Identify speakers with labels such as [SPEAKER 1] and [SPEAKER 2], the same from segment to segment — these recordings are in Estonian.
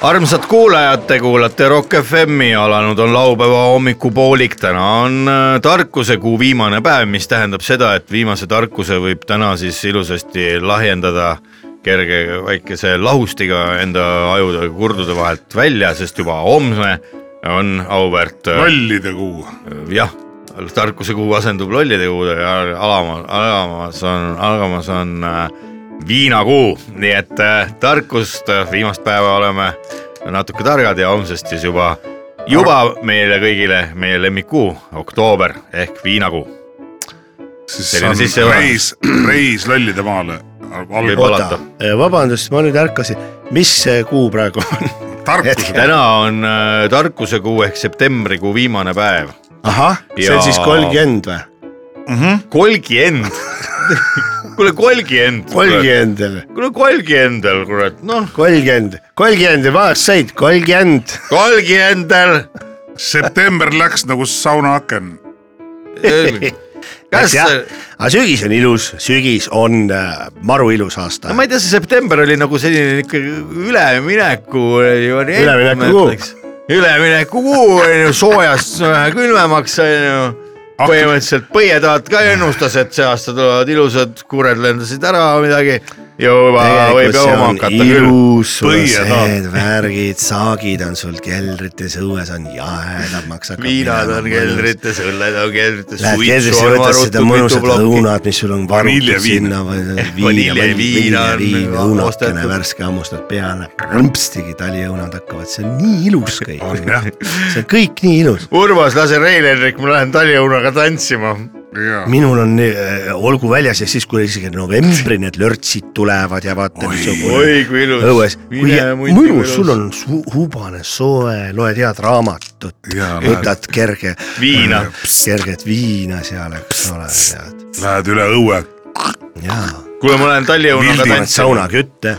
[SPEAKER 1] armsad kuulajad , te kuulate Rock FM-i , alanud on laupäeva hommikupoolik , täna on äh, tarkusekuu viimane päev , mis tähendab seda , et viimase tarkuse võib täna siis ilusasti lahjendada kerge väikese lahustiga enda ajude ja kurdude vahelt välja , sest juba homne on auväärt äh,
[SPEAKER 2] lollide kuu .
[SPEAKER 1] jah , tarkusekuu asendub lollide kuude ja alamas , alamas on , algamas on äh, viinakuu , nii et äh, tarkust äh, viimast päeva oleme natuke targad ja homsest siis juba , juba meile kõigile meie lemmikkuu , oktoober ehk viinakuu .
[SPEAKER 2] siis
[SPEAKER 1] Selline
[SPEAKER 2] on
[SPEAKER 1] sissejuhatus.
[SPEAKER 2] reis , reis lollide maale .
[SPEAKER 1] võib alata .
[SPEAKER 3] vabandust , ma nüüd ärkasin , mis see kuu praegu on ?
[SPEAKER 2] tarkused ,
[SPEAKER 1] täna on äh, tarkusekuu ehk septembrikuu viimane päev ,
[SPEAKER 3] ahah , see
[SPEAKER 1] Jaa.
[SPEAKER 3] on siis kolmkümmend või ?
[SPEAKER 1] kolgiend . kuule , kolgiend .
[SPEAKER 3] kolmkümmend või ?
[SPEAKER 1] kuule , kolgiendel , kurat , noh ,
[SPEAKER 3] kolmkümmend , kolmkümmend ja vanaks said , kolmkümmend .
[SPEAKER 1] kolgiendel
[SPEAKER 2] september läks nagu saunaaken .
[SPEAKER 1] kas ,
[SPEAKER 3] aga sügis on ilus , sügis on äh, maru ilus aasta
[SPEAKER 1] no ma . ei tea , see september oli nagu selline ikka ülemineku .
[SPEAKER 3] Üleminekukuu. .
[SPEAKER 1] üleminekukuu onju , soojast vähe külmemaks onju .
[SPEAKER 2] Ah.
[SPEAKER 1] põhimõtteliselt põietaat ka ennustas , et see aasta tulevad ilusad , kured lendasid ära midagi . juba võib jooma hakata küll .
[SPEAKER 3] ilus , sul on
[SPEAKER 2] Põie tahab.
[SPEAKER 3] seed , värgid , saagid on sul keldrites , õues on jahedamaks .
[SPEAKER 1] viinad on . keldrites , õlled on keldrites .
[SPEAKER 3] Lähed keldrisse , võtad seda mõnusat lõunat , mis sul on varutud
[SPEAKER 2] Vaniljeviin.
[SPEAKER 3] sinna .
[SPEAKER 1] Vaniljeviin Eh, on nagu
[SPEAKER 3] õunakene
[SPEAKER 1] ostetud.
[SPEAKER 3] värske hammustad peale , krõmpstigi taliõunad hakkavad , see on nii ilus kõik .
[SPEAKER 2] jah.
[SPEAKER 3] see on kõik nii ilus .
[SPEAKER 1] Urmas , lase Rein-Henrik , ma lähen Talihõunaga tantsima .
[SPEAKER 3] minul on äh, olgu väljas ja siis , kui isegi novembri need lörtsid tulevad ja vaata , mis on
[SPEAKER 1] oi kui ilus .
[SPEAKER 3] õues , kui mõnus , sul on su- hubane soe , loed head raamatut ,
[SPEAKER 2] Jaa,
[SPEAKER 3] võtad kerge ,
[SPEAKER 1] viina .
[SPEAKER 3] kerget viina seal , eks ole , tead .
[SPEAKER 2] Lähed üle õue .
[SPEAKER 3] jaa ,
[SPEAKER 1] kuule , ma lähen Talihõunaga
[SPEAKER 2] Vildi-
[SPEAKER 3] paned
[SPEAKER 1] tantsima .
[SPEAKER 3] saunakütte ,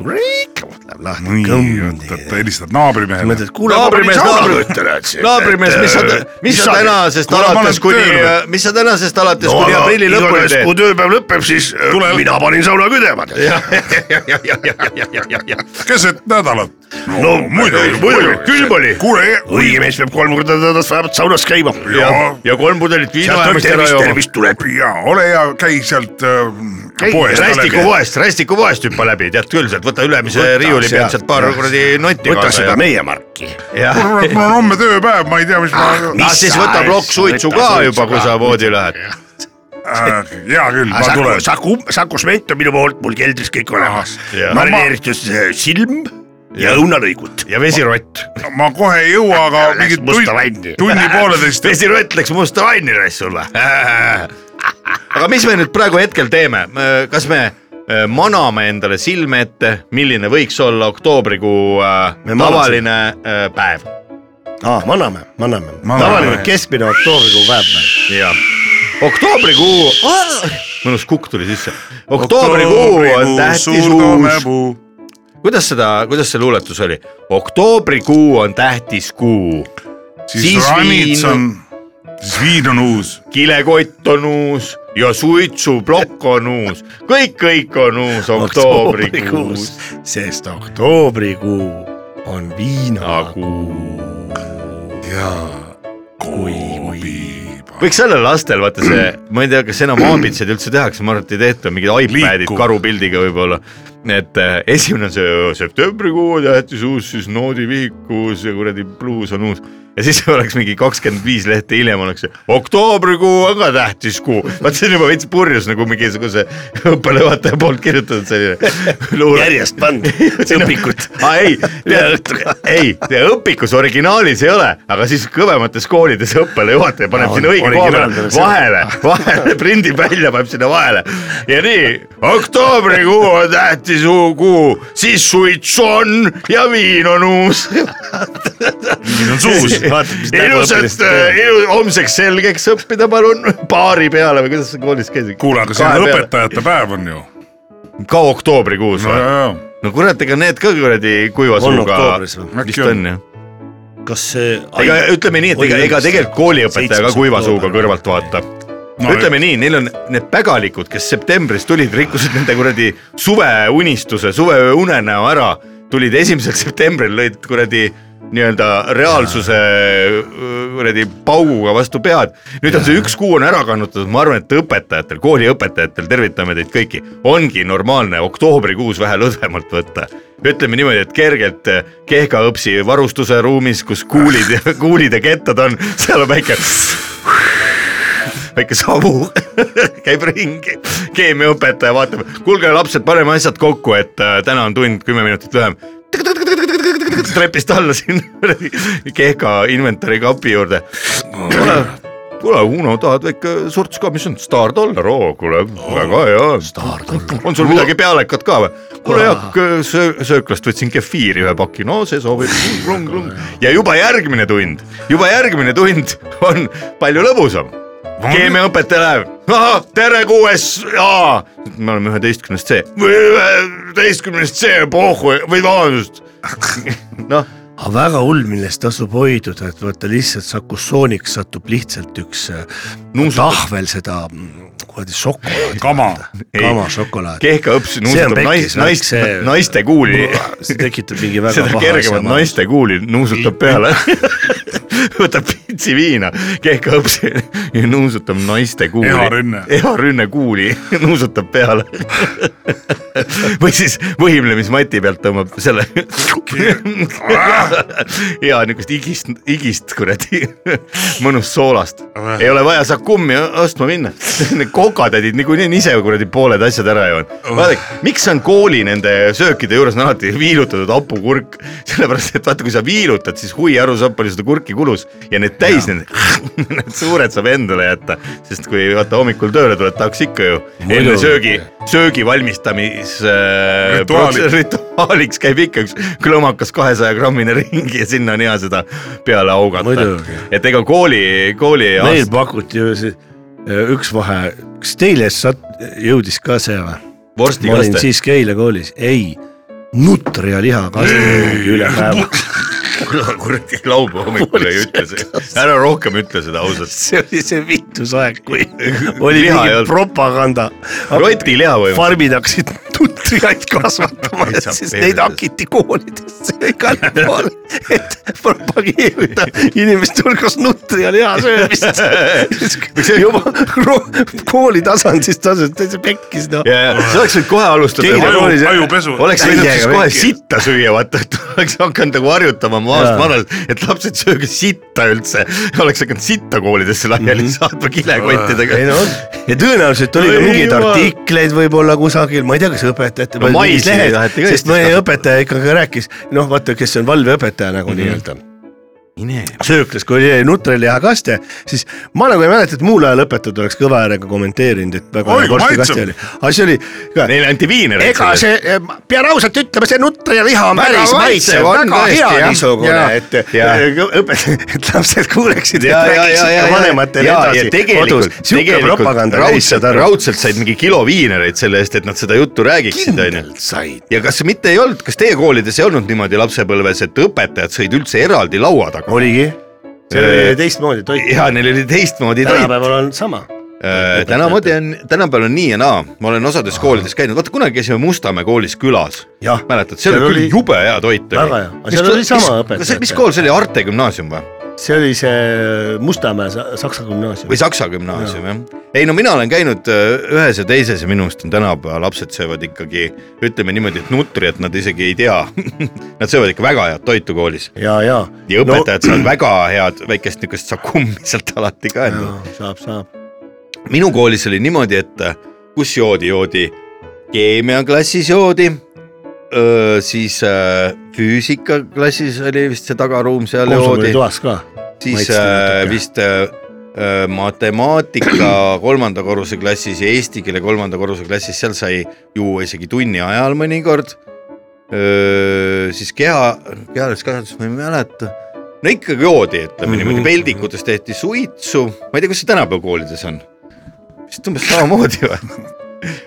[SPEAKER 1] nagu
[SPEAKER 3] läheb lahti ,
[SPEAKER 2] nii , oot-oot ,
[SPEAKER 3] kõmdi .
[SPEAKER 2] helistad naabrimehele .
[SPEAKER 3] mõtled , kuule ,
[SPEAKER 1] Naabrimees, naabri- naabrimees , mis
[SPEAKER 2] Äh,
[SPEAKER 1] sa ,
[SPEAKER 3] äh,
[SPEAKER 1] mis sa tänasest
[SPEAKER 2] Kuule, ma
[SPEAKER 1] alates
[SPEAKER 2] olen
[SPEAKER 1] kuni
[SPEAKER 2] tööl. ,
[SPEAKER 1] mis sa tänasest alates kuni aprilli lõpuni teed ?
[SPEAKER 3] kui tööpäev lõpeb , siis äh,
[SPEAKER 2] Tule-
[SPEAKER 3] mina panin sauna küdema .
[SPEAKER 2] keset nädalat . no muidugi ,
[SPEAKER 3] muidugi, külm oli.
[SPEAKER 2] kuule ,
[SPEAKER 3] õige mees peab kolm korda nädalas vähemalt saunas käima .
[SPEAKER 2] ja ,
[SPEAKER 1] ja kolm pudelit viina
[SPEAKER 3] sealt tuleb
[SPEAKER 1] vähemasti ära
[SPEAKER 3] tervist ,
[SPEAKER 1] jooma .
[SPEAKER 3] tervist tuleb .
[SPEAKER 2] ja ole hea , käi sealt äh, poest .
[SPEAKER 1] rästikupoest , rästikupoest hüppa läbi , tead küll , sealt võta ülemise riiuli pealt
[SPEAKER 3] sealt.
[SPEAKER 1] sealt paar kuradi notti
[SPEAKER 3] võta seda
[SPEAKER 1] kaasa ja-
[SPEAKER 3] meie marki .
[SPEAKER 1] ja
[SPEAKER 2] kurat , mul on homme tööpäev , ma ei tea , mis ma .
[SPEAKER 1] ah, siis võta plokk suitsu ka juba , kui sa voodi lähed .
[SPEAKER 2] Ah, hea küll , ma
[SPEAKER 3] Ah, Saku ,
[SPEAKER 2] tulen . Ah,
[SPEAKER 3] Saku , Saku Sment on minu poolt mul keldris kõik olemas
[SPEAKER 1] Jaa. .
[SPEAKER 3] marineeritud äh, silm ja õunalõigud .
[SPEAKER 1] ja vesirott .
[SPEAKER 2] ma kohe ei jõua , aga mingi
[SPEAKER 3] musta vanni.
[SPEAKER 2] tund , tunni-pooleteist .
[SPEAKER 1] vesirott läks musta vanni raisk sulle . aga mis me nüüd praegu hetkel teeme , kas me äh, maname endale silme ette , milline võiks olla oktoobrikuu äh,
[SPEAKER 3] Me manasime.
[SPEAKER 1] tavaline äh, päev Äh,
[SPEAKER 3] aa , maname , maname .
[SPEAKER 2] Maname.
[SPEAKER 3] tavaline keskmine oktoobrikuu päev .
[SPEAKER 1] ja oktoobrikuu , mõnus kukk tuli sisse . oktoobrikuu on tähtis uus , kuidas seda , kuidas see luuletus oli ? oktoobrikuu on tähtis kuu , Siis
[SPEAKER 2] siis ranits
[SPEAKER 1] viin-
[SPEAKER 2] on , siis viin on uus .
[SPEAKER 1] kilekott on uus ja suitsuplokk on uus , kõik , kõik on uus oktoobrikuus .
[SPEAKER 3] sest oktoobrikuu on
[SPEAKER 1] Nagu-
[SPEAKER 3] viinakuu .
[SPEAKER 1] võiks olla lastel , vaata see , ma ei tea , kas enam aabitseid üldse tehakse , ma arvan , et ei tehta , mingid iPadid
[SPEAKER 2] Liikuv.
[SPEAKER 1] karupildiga võib-olla . et eh, esimene on see septembrikuu tähtis uus , siis noodivihikus ja kuradi pluus on uus . ja siis oleks mingi kakskümmend viis lehte hiljem oleks see, oktoobrikuu on ka tähtis kuu . vaat see on juba veits purjus nagu mingisuguse õppelõvataja poolt kirjutatud selline luule .
[SPEAKER 3] järjest pannud õpikut .
[SPEAKER 1] aa Ah, ei , ei , õpikus originaalis ei ole , aga siis kõvemates koolides õppealajuhataja paneb
[SPEAKER 3] Aa,
[SPEAKER 1] sinna
[SPEAKER 3] on-
[SPEAKER 1] õige koha peale
[SPEAKER 3] originaal tuleb see.
[SPEAKER 1] vahele , vahele prindib välja , paneb sinna vahele ja nii oktoobrikuu on tähtis u- kuu , siis suitsu on ja viin on uus .
[SPEAKER 2] viin on suus .
[SPEAKER 3] vaatab , mis nägu
[SPEAKER 1] ilusat , ilu- , homseks selgeks õppida , palun , baari peale või kuidas sa koolis käisid ?
[SPEAKER 2] kuule , aga see on . õpetajate päev on ju .
[SPEAKER 1] ka oktoobrikuus
[SPEAKER 2] no
[SPEAKER 1] või ?
[SPEAKER 2] ja , ja
[SPEAKER 1] no kurat , ega need ka kuradi kuiva
[SPEAKER 3] On
[SPEAKER 1] suuga
[SPEAKER 3] oktoobris või?
[SPEAKER 1] vist on jah .
[SPEAKER 3] kas see
[SPEAKER 1] ega ütleme nii , et ega , ega tegelikult kooliõpetaja ka kuiva suuga kõrvalt vaatab .
[SPEAKER 2] No
[SPEAKER 1] No, ütleme nii , neil on need pägalikud , kes septembris tulid , rikkusid nende kuradi suveunistuse , suveunenäo ära , tulid esimesel septembril , lõid kuradi nii-öelda reaalsuse öö, kuradi pauguga vastu pead . nüüd on see üks kuu on ära kannutatud , ma arvan , et õpetajatel , kooliõpetajatel , tervitame teid kõiki , ongi normaalne oktoobrikuus vähe lõdvemalt võtta . ütleme niimoodi , et kergelt kehkaõpsi varustuse ruumis , kus kuulid , kuulid ja kettad on , seal on väike väike savu käib ringi , keemiaõpetaja vaatab , kuulge lapsed , paneme asjad kokku , et äh, täna on tund kümme minutit lühem . trepist alla sinna kuradi kehka inventari kapi juurde . kuule , kuule Uno , tahad väike sorts ka , mis on Star Dollar , oo kuule , väga hea . on sul midagi pealekat ka või ? kuule Jaak , sööklast võtsin kefiiri ühe paki , no see sobib . ja juba järgmine tund , juba järgmine tund on palju lõbusam keemiaõpetaja läheb , ahah , tere kuues A . me oleme üheteistkümnes C . või üheteistkümnes C , pohhu , või vabandust . noh ,
[SPEAKER 3] aga Ah, väga hull , millest tasub hoiduda , et vaata lihtsalt sakussooniks satub lihtsalt üks äh, tahvel seda mm, kuradi šokolaadi .
[SPEAKER 2] Kama.
[SPEAKER 1] Ei.
[SPEAKER 3] kama šokolaad .
[SPEAKER 1] kehkaõps
[SPEAKER 3] See on
[SPEAKER 1] nuusutab
[SPEAKER 3] pekkis,
[SPEAKER 1] nais- , nais-
[SPEAKER 3] see- ,
[SPEAKER 1] naiste kuuli ,
[SPEAKER 3] see tekitab mingi väga
[SPEAKER 1] seda
[SPEAKER 3] paha
[SPEAKER 1] kergemat naiste kuuli nuusutab peale . võtab pitsi viina , kehkaõps ja nuusutab naiste kuuli .
[SPEAKER 2] Eharünne.
[SPEAKER 1] eharünne kuuli nuusutab peale . või siis võimlemismati pealt tõmbab selle ja niukest igist , igist kuradi mõnus soolast . ei ole vaja Sakumi ostma minna , need kokatädid niikuinii on ise kuradi pooled asjad ära joonud . vaadake , miks on kooli nende söökide juures on alati viilutatud hapukurk , sellepärast et vaata , kui sa viilutad , siis hui aru saab , palju seda kurki kulus ja need täis , need, need suured saab endale jätta , sest kui vaata hommikul tööle tuled , tahaks ikka ju enne söögi , söögi valmistamis äh,
[SPEAKER 2] Rituaali.
[SPEAKER 1] prots- rituaaliks käib ikka üks klõmakas kahesaja grammine ringi ja sinna on hea seda peale augata
[SPEAKER 3] Muidugi. .
[SPEAKER 1] et ega kooli , kooli
[SPEAKER 3] meil pakuti ju see äh, üks vahe , kas teile sat- , jõudis ka see või ? ma olin
[SPEAKER 1] vorstikaste ,
[SPEAKER 3] siiski eile koolis , ei , nutria liha kasvab üle päeva .
[SPEAKER 1] kuradi laupäeva hommikul ei ütle seda , ära rohkem ütle seda ausalt .
[SPEAKER 3] see oli see vittusaeg , kui
[SPEAKER 1] Liha
[SPEAKER 3] oli
[SPEAKER 1] ei
[SPEAKER 3] mingi
[SPEAKER 1] olnud.
[SPEAKER 3] propaganda .
[SPEAKER 1] rotiliha või ?
[SPEAKER 3] farmid hakkasid nutriaid kasvatama
[SPEAKER 1] Ei saa ,
[SPEAKER 3] siis
[SPEAKER 1] perses.
[SPEAKER 3] neid hakiti koolidesse igale poole , et propageerida inimeste hulgas nutrialiha söömist
[SPEAKER 1] see- .
[SPEAKER 3] juba ro- kooli tasandist tasandist täitsa pekkis noh .
[SPEAKER 1] ja , ja sa oleks võinud kohe
[SPEAKER 3] Keegi-
[SPEAKER 1] alustada .
[SPEAKER 2] aju
[SPEAKER 3] koolis- ,
[SPEAKER 2] ajupesu .
[SPEAKER 1] oleks võinud siis
[SPEAKER 3] Täiega
[SPEAKER 1] kohe
[SPEAKER 3] väike.
[SPEAKER 1] sitta süüa , vaata , et oleks hakanud nagu harjutama maast
[SPEAKER 3] Jaa.
[SPEAKER 1] madalalt , et lapsed sööge sitta üldse . oleks hakanud sitta koolidesse laiali saatma kilekottidega
[SPEAKER 3] Mhm. ei . noh. no on ja tõenäoliselt oli ka
[SPEAKER 1] Ei
[SPEAKER 3] mingeid
[SPEAKER 1] jumal.
[SPEAKER 3] artikleid võib-olla kusagil , ma ei tea , kas õpetajate
[SPEAKER 1] No maisi ei taheti ka
[SPEAKER 3] sest
[SPEAKER 1] Eestis
[SPEAKER 3] mõni
[SPEAKER 1] kasutada.
[SPEAKER 3] õpetaja ikkagi rääkis , noh , vaata , kes on valveõpetaja nagu mm -hmm. nii-öelda
[SPEAKER 1] mine .
[SPEAKER 3] sööklas , kui oli nutralihakaste , siis ma nagu ei mäleta , et muul ajal õpetajad oleks kõva häälega kommenteerinud , et väga
[SPEAKER 2] Oi,
[SPEAKER 3] hea
[SPEAKER 2] kui
[SPEAKER 3] vorstikaste
[SPEAKER 2] maitsev.
[SPEAKER 3] oli , aga see oli ka,
[SPEAKER 1] Neile anti viinereid .
[SPEAKER 3] ega see , pean ausalt ütlema , see nutraliha on
[SPEAKER 1] Väga
[SPEAKER 3] päris
[SPEAKER 1] maitsev,
[SPEAKER 3] maitsev ,
[SPEAKER 1] on
[SPEAKER 3] väga
[SPEAKER 1] tõesti,
[SPEAKER 3] hea
[SPEAKER 1] jah.
[SPEAKER 3] niisugune
[SPEAKER 1] Ja. ,
[SPEAKER 3] et
[SPEAKER 1] Ja.
[SPEAKER 3] õpetajad , et lapsed kuuleksid , et
[SPEAKER 1] ja , ja , ja ,
[SPEAKER 3] räägiksid
[SPEAKER 1] ja
[SPEAKER 3] ka , vanematele edasi kodus
[SPEAKER 1] tegelikult ,,
[SPEAKER 3] sihuke
[SPEAKER 1] tegelikult
[SPEAKER 3] propaganda käis ,
[SPEAKER 1] raudselt
[SPEAKER 3] saad , aru ,
[SPEAKER 1] raudselt said mingi kilo viinereid selle eest , et nad seda juttu räägiksid , onju
[SPEAKER 3] kindlalt said .
[SPEAKER 1] ja kas mitte ei olnud , kas teie koolides ei olnud niimoodi lapsepõlves , et õpetajad sõid üldse eraldi laua taga ?
[SPEAKER 3] oligi , Äh, see
[SPEAKER 1] Eh,
[SPEAKER 3] oli teistmoodi toit ,
[SPEAKER 1] ja neil oli teistmoodi toit .
[SPEAKER 3] tänapäeval on sama .
[SPEAKER 1] Äh, tänamoodi on , tänapäeval on nii ja naa , ma olen osades koolides käinud , vaata kunagi käisime Mustamäe koolis külas .
[SPEAKER 3] Jah.
[SPEAKER 1] mäletad , seal
[SPEAKER 3] Seal
[SPEAKER 1] oli
[SPEAKER 3] oli-
[SPEAKER 1] küll jube hea toit .
[SPEAKER 3] Väga hea. Aga seal oli sama õpetaja.
[SPEAKER 1] mis kool see oli , Arte gümnaasium või ?
[SPEAKER 3] see oli see Mustamäe sa- Saksa gümnaasium
[SPEAKER 1] või . Saksa gümnaasium jah ? ei no mina olen käinud öö, ühes ja teises ja minu arust on tänapäeva lapsed söövad ikkagi ütleme niimoodi , et nutriat nad isegi ei tea . Nad söövad ikka väga head toitu koolis
[SPEAKER 3] ja , ja .
[SPEAKER 1] ja õpetajad no. saavad väga head väikest niisugust sakummi sealt alati ka endale .
[SPEAKER 3] no, . saab , saab .
[SPEAKER 1] minu koolis oli niimoodi , et äh, kus joodi , joodi keemiaklassis joodi , siis öö, füüsikaklassis oli vist see tagaruum seal joodi ,
[SPEAKER 3] konsumitoas ka .
[SPEAKER 1] siis
[SPEAKER 3] maitsti
[SPEAKER 1] öö,
[SPEAKER 3] natuke.
[SPEAKER 1] vist öö, öö, matemaatika kolmanda korruse klassis ja eesti keele kolmanda korruse klassis , seal sai juua isegi tunni ajal Äh, mõnikord . siis keha , kehalist kasvatust ma ei mäleta , no ikkagi joodi , ütleme niimoodi , peldikutes tehti suitsu , ma ei tea , kas see tänapäeva koolides on , vist umbes samamoodi või ?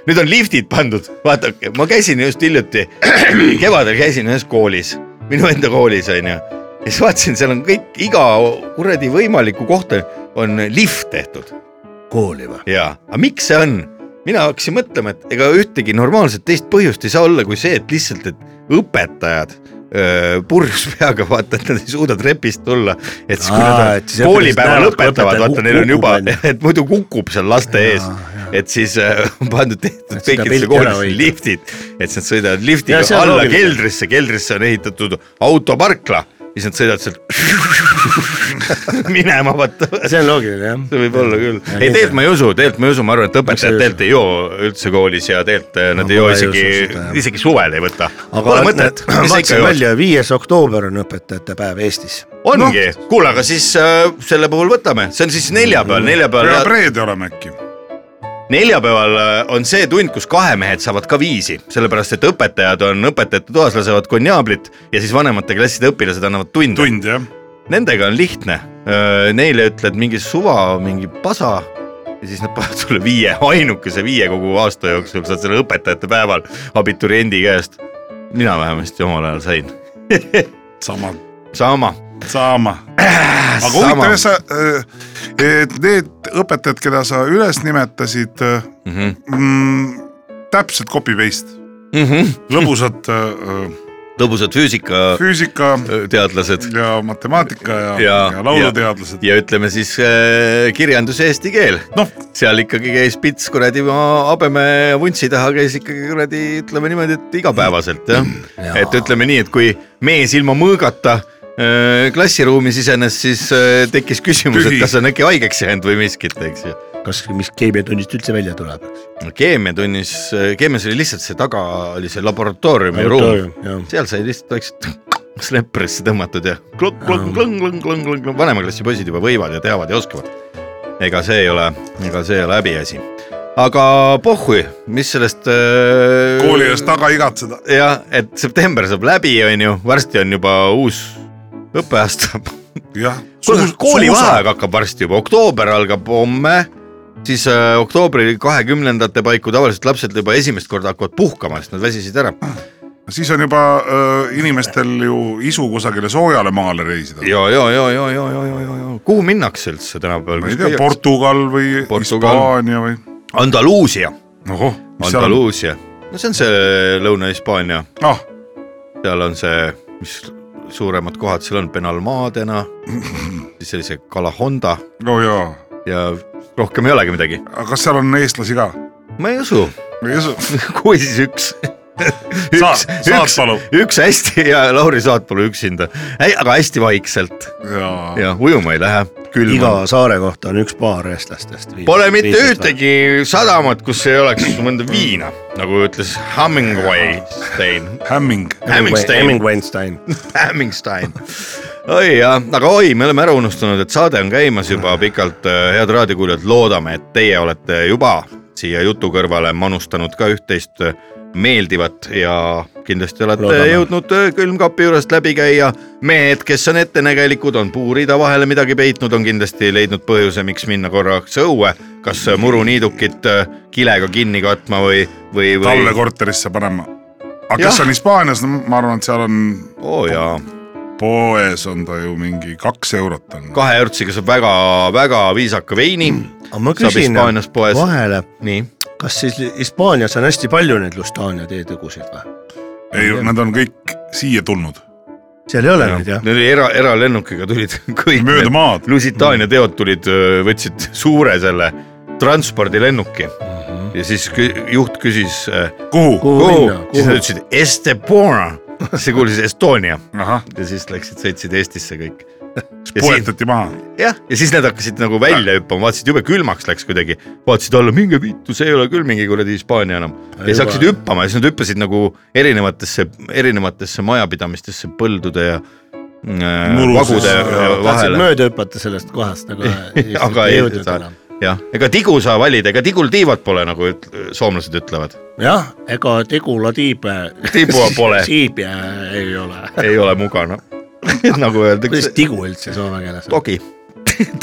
[SPEAKER 1] nüüd on liftid pandud , vaadake , ma käisin just hiljuti , kevadel käisin ühes koolis , minu enda koolis onju , ja siis vaatasin , seal on kõik iga kuradi võimalikku kohta on lift tehtud
[SPEAKER 3] kooli või ?
[SPEAKER 1] jaa , aga miks see on ? mina hakkasin mõtlema , et ega ühtegi normaalset teist põhjust ei saa olla kui see , et lihtsalt , et õpetajad öö, purjus peaga , vaata , et nad ei suuda trepist tulla , et siis kui
[SPEAKER 3] Aa,
[SPEAKER 1] nad
[SPEAKER 3] et siis
[SPEAKER 1] koolipäeva
[SPEAKER 3] õpetajad näevad, kui
[SPEAKER 1] lõpetavad ,
[SPEAKER 3] õpetaja
[SPEAKER 1] vaata neil on
[SPEAKER 3] kukub
[SPEAKER 1] juba ,
[SPEAKER 3] välja.
[SPEAKER 1] et muidu kukub seal laste ees
[SPEAKER 3] Jaa, ,
[SPEAKER 1] et siis öö, on pandud tehtud
[SPEAKER 3] Et seda
[SPEAKER 1] kõikidesse
[SPEAKER 3] pilti ära
[SPEAKER 1] koolidesse
[SPEAKER 3] hoida.
[SPEAKER 1] liftid , et siis nad sõidavad
[SPEAKER 3] Ja
[SPEAKER 1] liftiga
[SPEAKER 3] see on
[SPEAKER 1] alla
[SPEAKER 3] loogiline.
[SPEAKER 1] keldrisse , keldrisse on ehitatud autoparkla , siis nad sõidavad sealt minema , vaata
[SPEAKER 3] see on loogiline jah .
[SPEAKER 1] see võib olla küll .
[SPEAKER 3] Ja
[SPEAKER 1] ei ,
[SPEAKER 3] nii
[SPEAKER 1] tegelikult ma ei usu , tegelikult ma ei usu , ma arvan , et
[SPEAKER 3] Miks sa ei
[SPEAKER 1] õpetajad
[SPEAKER 3] usu?
[SPEAKER 1] tegelikult ei joo üldse koolis ja tegelikult eh, nad
[SPEAKER 3] No
[SPEAKER 1] ei joo
[SPEAKER 3] ma ei
[SPEAKER 1] isegi
[SPEAKER 3] usu seda, jah. ,
[SPEAKER 1] isegi suvel ei võta .
[SPEAKER 3] aga
[SPEAKER 1] Pole mõtet , mis sa ikka
[SPEAKER 3] vaatasin
[SPEAKER 1] jood .
[SPEAKER 3] välja , viies oktoober on õpetajate päev Eestis .
[SPEAKER 1] ongi , kuule , aga siis äh, selle puhul võtame , see on siis neljapäeval ,
[SPEAKER 2] peab
[SPEAKER 1] neljapäeval ,
[SPEAKER 2] reede olema äkki .
[SPEAKER 1] neljapäeval äh, on see tund , kus kahemehed saavad ka viisi , sellepärast et õpetajad on õpetajate toas , lasevad konjaablit ja siis vanemate klasside õpilased annavad tunde .
[SPEAKER 2] tund jah ,
[SPEAKER 1] Nendega on lihtne , neile ütled mingi suva , mingi pasa ja siis nad panevad sulle viie , ainukese viie kogu aasta jooksul , saad selle õpetajate päeval abituriendi käest . mina vähemasti omal ajal sain ,
[SPEAKER 2] sama ,
[SPEAKER 1] sama .
[SPEAKER 2] sama .
[SPEAKER 3] Äh,
[SPEAKER 2] aga huvitav , kas sa , et need õpetajad , keda sa üles nimetasid ,
[SPEAKER 1] Mhm.
[SPEAKER 2] täpselt copy paste ,
[SPEAKER 1] Mhm.
[SPEAKER 2] lõbusad äh,
[SPEAKER 1] lõbusad
[SPEAKER 2] füüsika
[SPEAKER 1] füüsikateadlased
[SPEAKER 2] ja matemaatika ja, ja,
[SPEAKER 1] Ja-
[SPEAKER 2] ja lauluteadlased .
[SPEAKER 1] ja ütleme siis äh, kirjanduse eesti keel ,
[SPEAKER 2] noh ,
[SPEAKER 1] seal ikkagi käis pits kuradi oma habeme ja vuntsi taha käis ikkagi kuradi , ütleme niimoodi , et igapäevaselt jah . et ütleme nii , et kui mees ilma mõõgata äh, klassiruumi sisenes , siis äh, tekkis küsimus , et
[SPEAKER 2] Tühi.
[SPEAKER 1] kas on äkki haigeks jäänud või miskit , eks ju .
[SPEAKER 3] kas , mis keemiatunnist üldse välja tuleb ?
[SPEAKER 1] keemiatunnis , äh, keemias oli lihtsalt see taga oli see laboratooriumi ruum , seal sai lihtsalt väiksed sleprisse tõmmatud ja klõng , klõng , klõng , klõng , klõng , klõng , vanema klassi poisid juba võivad ja teavad ja oskavad . ega see ei ole , ega see ei ole häbiasi . aga pohhui , mis sellest äh,
[SPEAKER 2] kooli ees taga igatseda .
[SPEAKER 1] jah , et september saab läbi , onju , varsti on juba uus õppeaasta .
[SPEAKER 2] jah ,
[SPEAKER 1] koolivaheaeg hakkab varsti juba , oktoober algab homme , siis äh, oktoobri kahekümnendate paiku tavaliselt lapsed juba esimest korda hakkavad puhkama , sest nad väsisid ära .
[SPEAKER 2] siis on juba äh, inimestel ju isu kusagile soojale maale reisida .
[SPEAKER 1] ja , ja , ja , ja , ja , ja , ja , ja , ja kuhu minnakse üldse
[SPEAKER 2] ma ei tea ,
[SPEAKER 1] tänapäeval ?
[SPEAKER 2] Portugal või
[SPEAKER 1] Portugal.
[SPEAKER 2] Hispaania või ?
[SPEAKER 1] Andaluusia ,
[SPEAKER 2] ohoh , mis seal on ?
[SPEAKER 1] Andaluusia , no see on see Lõuna-Hispaania ,
[SPEAKER 2] ah ,
[SPEAKER 1] seal on see , mis suuremad kohad seal on , Benalmadena , siis sellise Calahonda
[SPEAKER 2] no jaa ,
[SPEAKER 1] ja rohkem ei olegi midagi .
[SPEAKER 2] aga kas seal on eestlasi ka ?
[SPEAKER 1] ma ei usu ,
[SPEAKER 2] või ei usu ?
[SPEAKER 1] kui siis üks . üks
[SPEAKER 2] Saat- ,
[SPEAKER 1] üks
[SPEAKER 2] Saatpalu. ,
[SPEAKER 1] üks hästi ja Lauri Saatpalu üksinda , aga hästi vaikselt
[SPEAKER 2] jaa ja. ,
[SPEAKER 1] ja ujuma ei lähe , külm
[SPEAKER 3] iga
[SPEAKER 1] on .
[SPEAKER 3] saare kohta on üks paar eestlastest .
[SPEAKER 1] Pole mitte . ühtegi sadamat , kus ei oleks mõnda viina , nagu ütles Hemingway , Stein ,
[SPEAKER 2] hämming .
[SPEAKER 1] Hemingstein ,
[SPEAKER 3] Hemingway-Stein .
[SPEAKER 1] Hemingstein . oi jah , aga oi , me oleme ära unustanud , et saade on käimas juba pikalt , head raadiokuulajad , loodame , et teie olete juba siia jutu kõrvale manustanud ka üht-teist äh, meeldivat ja kindlasti olete
[SPEAKER 3] Loodame.
[SPEAKER 1] jõudnud äh, külmkapi juurest läbi käia . mehed , kes on ettenägelikud , on puurida vahele midagi peitnud , on kindlasti leidnud põhjuse , miks minna korraks õue , kas muruniidukit äh, kilega kinni katma või , või , või
[SPEAKER 2] talle . korterisse panema . aga
[SPEAKER 1] Jah.
[SPEAKER 2] kes on Hispaanias , no ma arvan , et seal on ,
[SPEAKER 1] oo jaa
[SPEAKER 2] poes on ta ju mingi kaks eurot on .
[SPEAKER 1] kahe eurtsiga saab väga-väga viisaka veini
[SPEAKER 3] Mm. aga ma
[SPEAKER 1] Saab
[SPEAKER 3] küsin
[SPEAKER 1] Hispaanias poes.
[SPEAKER 3] vahele ,
[SPEAKER 1] nii ,
[SPEAKER 3] kas siis Hispaanias on hästi palju neid Lustaania teetegusid või ?
[SPEAKER 2] ei , nad on kõik siia tulnud ,
[SPEAKER 3] seal ei ole neid jah ?
[SPEAKER 1] need oli era , eralennukiga tulid kõik
[SPEAKER 2] mööda
[SPEAKER 1] need
[SPEAKER 2] maad .
[SPEAKER 3] Mm.
[SPEAKER 1] Lusitaania teod tulid , võtsid suure selle transpordilennuki ja siis kü- juht küsis ,
[SPEAKER 2] kuhu ?
[SPEAKER 3] Mhm. Kuhu
[SPEAKER 1] kuhu siis
[SPEAKER 3] minna? ,
[SPEAKER 1] nad
[SPEAKER 3] Kuhu?
[SPEAKER 1] ütlesid Estepona , siis kuulsid Estonia
[SPEAKER 2] ahah ,
[SPEAKER 1] ja siis läksid , sõitsid Eestisse kõik . ja siis ,
[SPEAKER 2] poetati maha .
[SPEAKER 1] jah , ja siis nad hakkasid nagu välja hüppama , vaatasid jube külmaks läks kuidagi , vaatasid alla , minge vittu , see ei ole küll mingi kuradi Hispaania enam . ja siis
[SPEAKER 3] Juba.
[SPEAKER 1] hakkasid hüppama ja siis nad hüppasid nagu erinevatesse , erinevatesse majapidamistesse põldude ja äh,
[SPEAKER 2] Murusesse.
[SPEAKER 1] vagude
[SPEAKER 2] Jaa,
[SPEAKER 3] tahtsid
[SPEAKER 1] vahele .
[SPEAKER 3] mööda hüpata sellest kohast , aga
[SPEAKER 1] aga ei saa , jah , ega tigu saa valida , ega tigul tiivad pole , nagu üt- soomlased ütlevad ,
[SPEAKER 3] jah , ega Tegula tiibe .
[SPEAKER 1] Tiibua pole.
[SPEAKER 3] tiibe ei ole .
[SPEAKER 1] ei ole mugana . nagu
[SPEAKER 3] kuidas
[SPEAKER 1] öeldakse .
[SPEAKER 3] tigu üldse soome keeles on ?
[SPEAKER 1] Togi .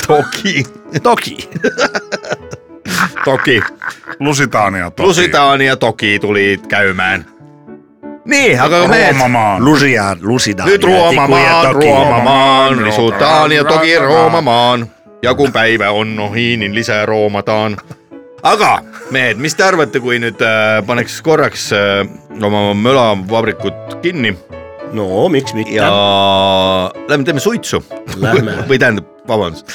[SPEAKER 1] Togi .
[SPEAKER 3] toki .
[SPEAKER 1] Togi .
[SPEAKER 2] Lusitaania topi .
[SPEAKER 1] Lusitaania Toki tulid käymään . Niin , aga meet
[SPEAKER 2] Roomamaa .
[SPEAKER 3] Lusian , Lusida .
[SPEAKER 1] Nyt Ruomamaan , Ruomamaan ,
[SPEAKER 2] Ruomamaan,
[SPEAKER 1] risutaan ja toki
[SPEAKER 2] Ruomamaan.
[SPEAKER 1] Roomamaan . Ja kun päivä on ohi , niin lisää roomataan . aga mehed , mis te arvate , kui nüüd äh, paneks korraks äh, oma mölavabrikut kinni
[SPEAKER 3] no miks mitte
[SPEAKER 1] ja lähme teeme suitsu
[SPEAKER 3] Lähme.
[SPEAKER 1] või tähendab , vabandust ,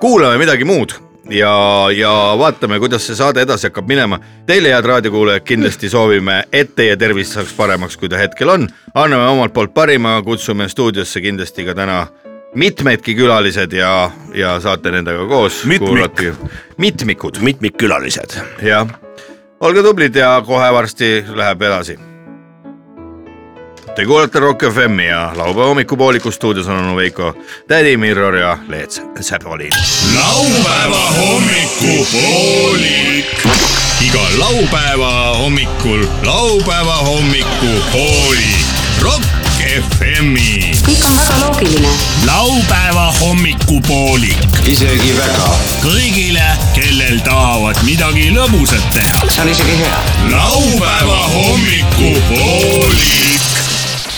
[SPEAKER 1] kuulame midagi muud ja , ja vaatame , kuidas see saade edasi hakkab minema . Teile , head raadiokuulajad , kindlasti soovime , et teie tervis saaks paremaks , kui ta hetkel on . anname omalt poolt parima , kutsume stuudiosse kindlasti ka täna mitmedki külalised ja , ja saate nendega koos
[SPEAKER 2] Mitmik.
[SPEAKER 1] kuulati . mitmikud ,
[SPEAKER 3] mitmikkülalised .
[SPEAKER 1] jah . olge tublid ja kohe varsti läheb edasi . Te kuulate Rock FM-i ja laupäeva hommikupooliku stuudios on onu Veiko , tädi Mirror ja Leet Sepolin .
[SPEAKER 4] laupäeva hommikupoolik . iga laupäeva hommikul laupäeva hommikupoolik . Rock FM-i .
[SPEAKER 5] kõik on väga loogiline
[SPEAKER 4] laupäeva hommikupoolik
[SPEAKER 6] isegi väga .
[SPEAKER 4] kõigile , kellel tahavad midagi lõbusat teha .
[SPEAKER 6] see on isegi hea .
[SPEAKER 4] laupäeva hommikupoolik .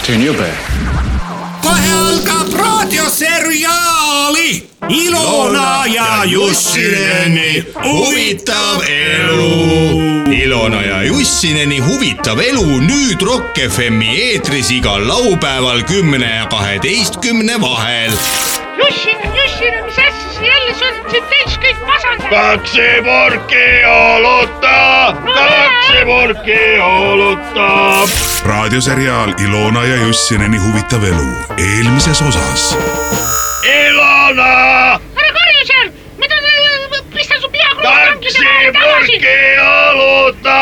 [SPEAKER 6] see on jube .
[SPEAKER 4] kohe algab raadioseriaali Ilona ja Jussineni huvitav elu . Ilona ja Jussineni huvitav elu nüüd Rock FM-i eetris igal laupäeval kümne ja kaheteistkümne vahel .
[SPEAKER 7] Jussin , Jussin , mis asja see jälle sul siin täis kõik pasandab ?
[SPEAKER 4] kaksipurki oluta , kaksipurki oluta .
[SPEAKER 8] raadioseriaal Ilona ja Jussineni huvitav elu eelmises osas .
[SPEAKER 4] Ilona ,
[SPEAKER 7] ära karju seal , ma tahan , pista su pea krokodillide vahele tagasi .
[SPEAKER 4] oluta .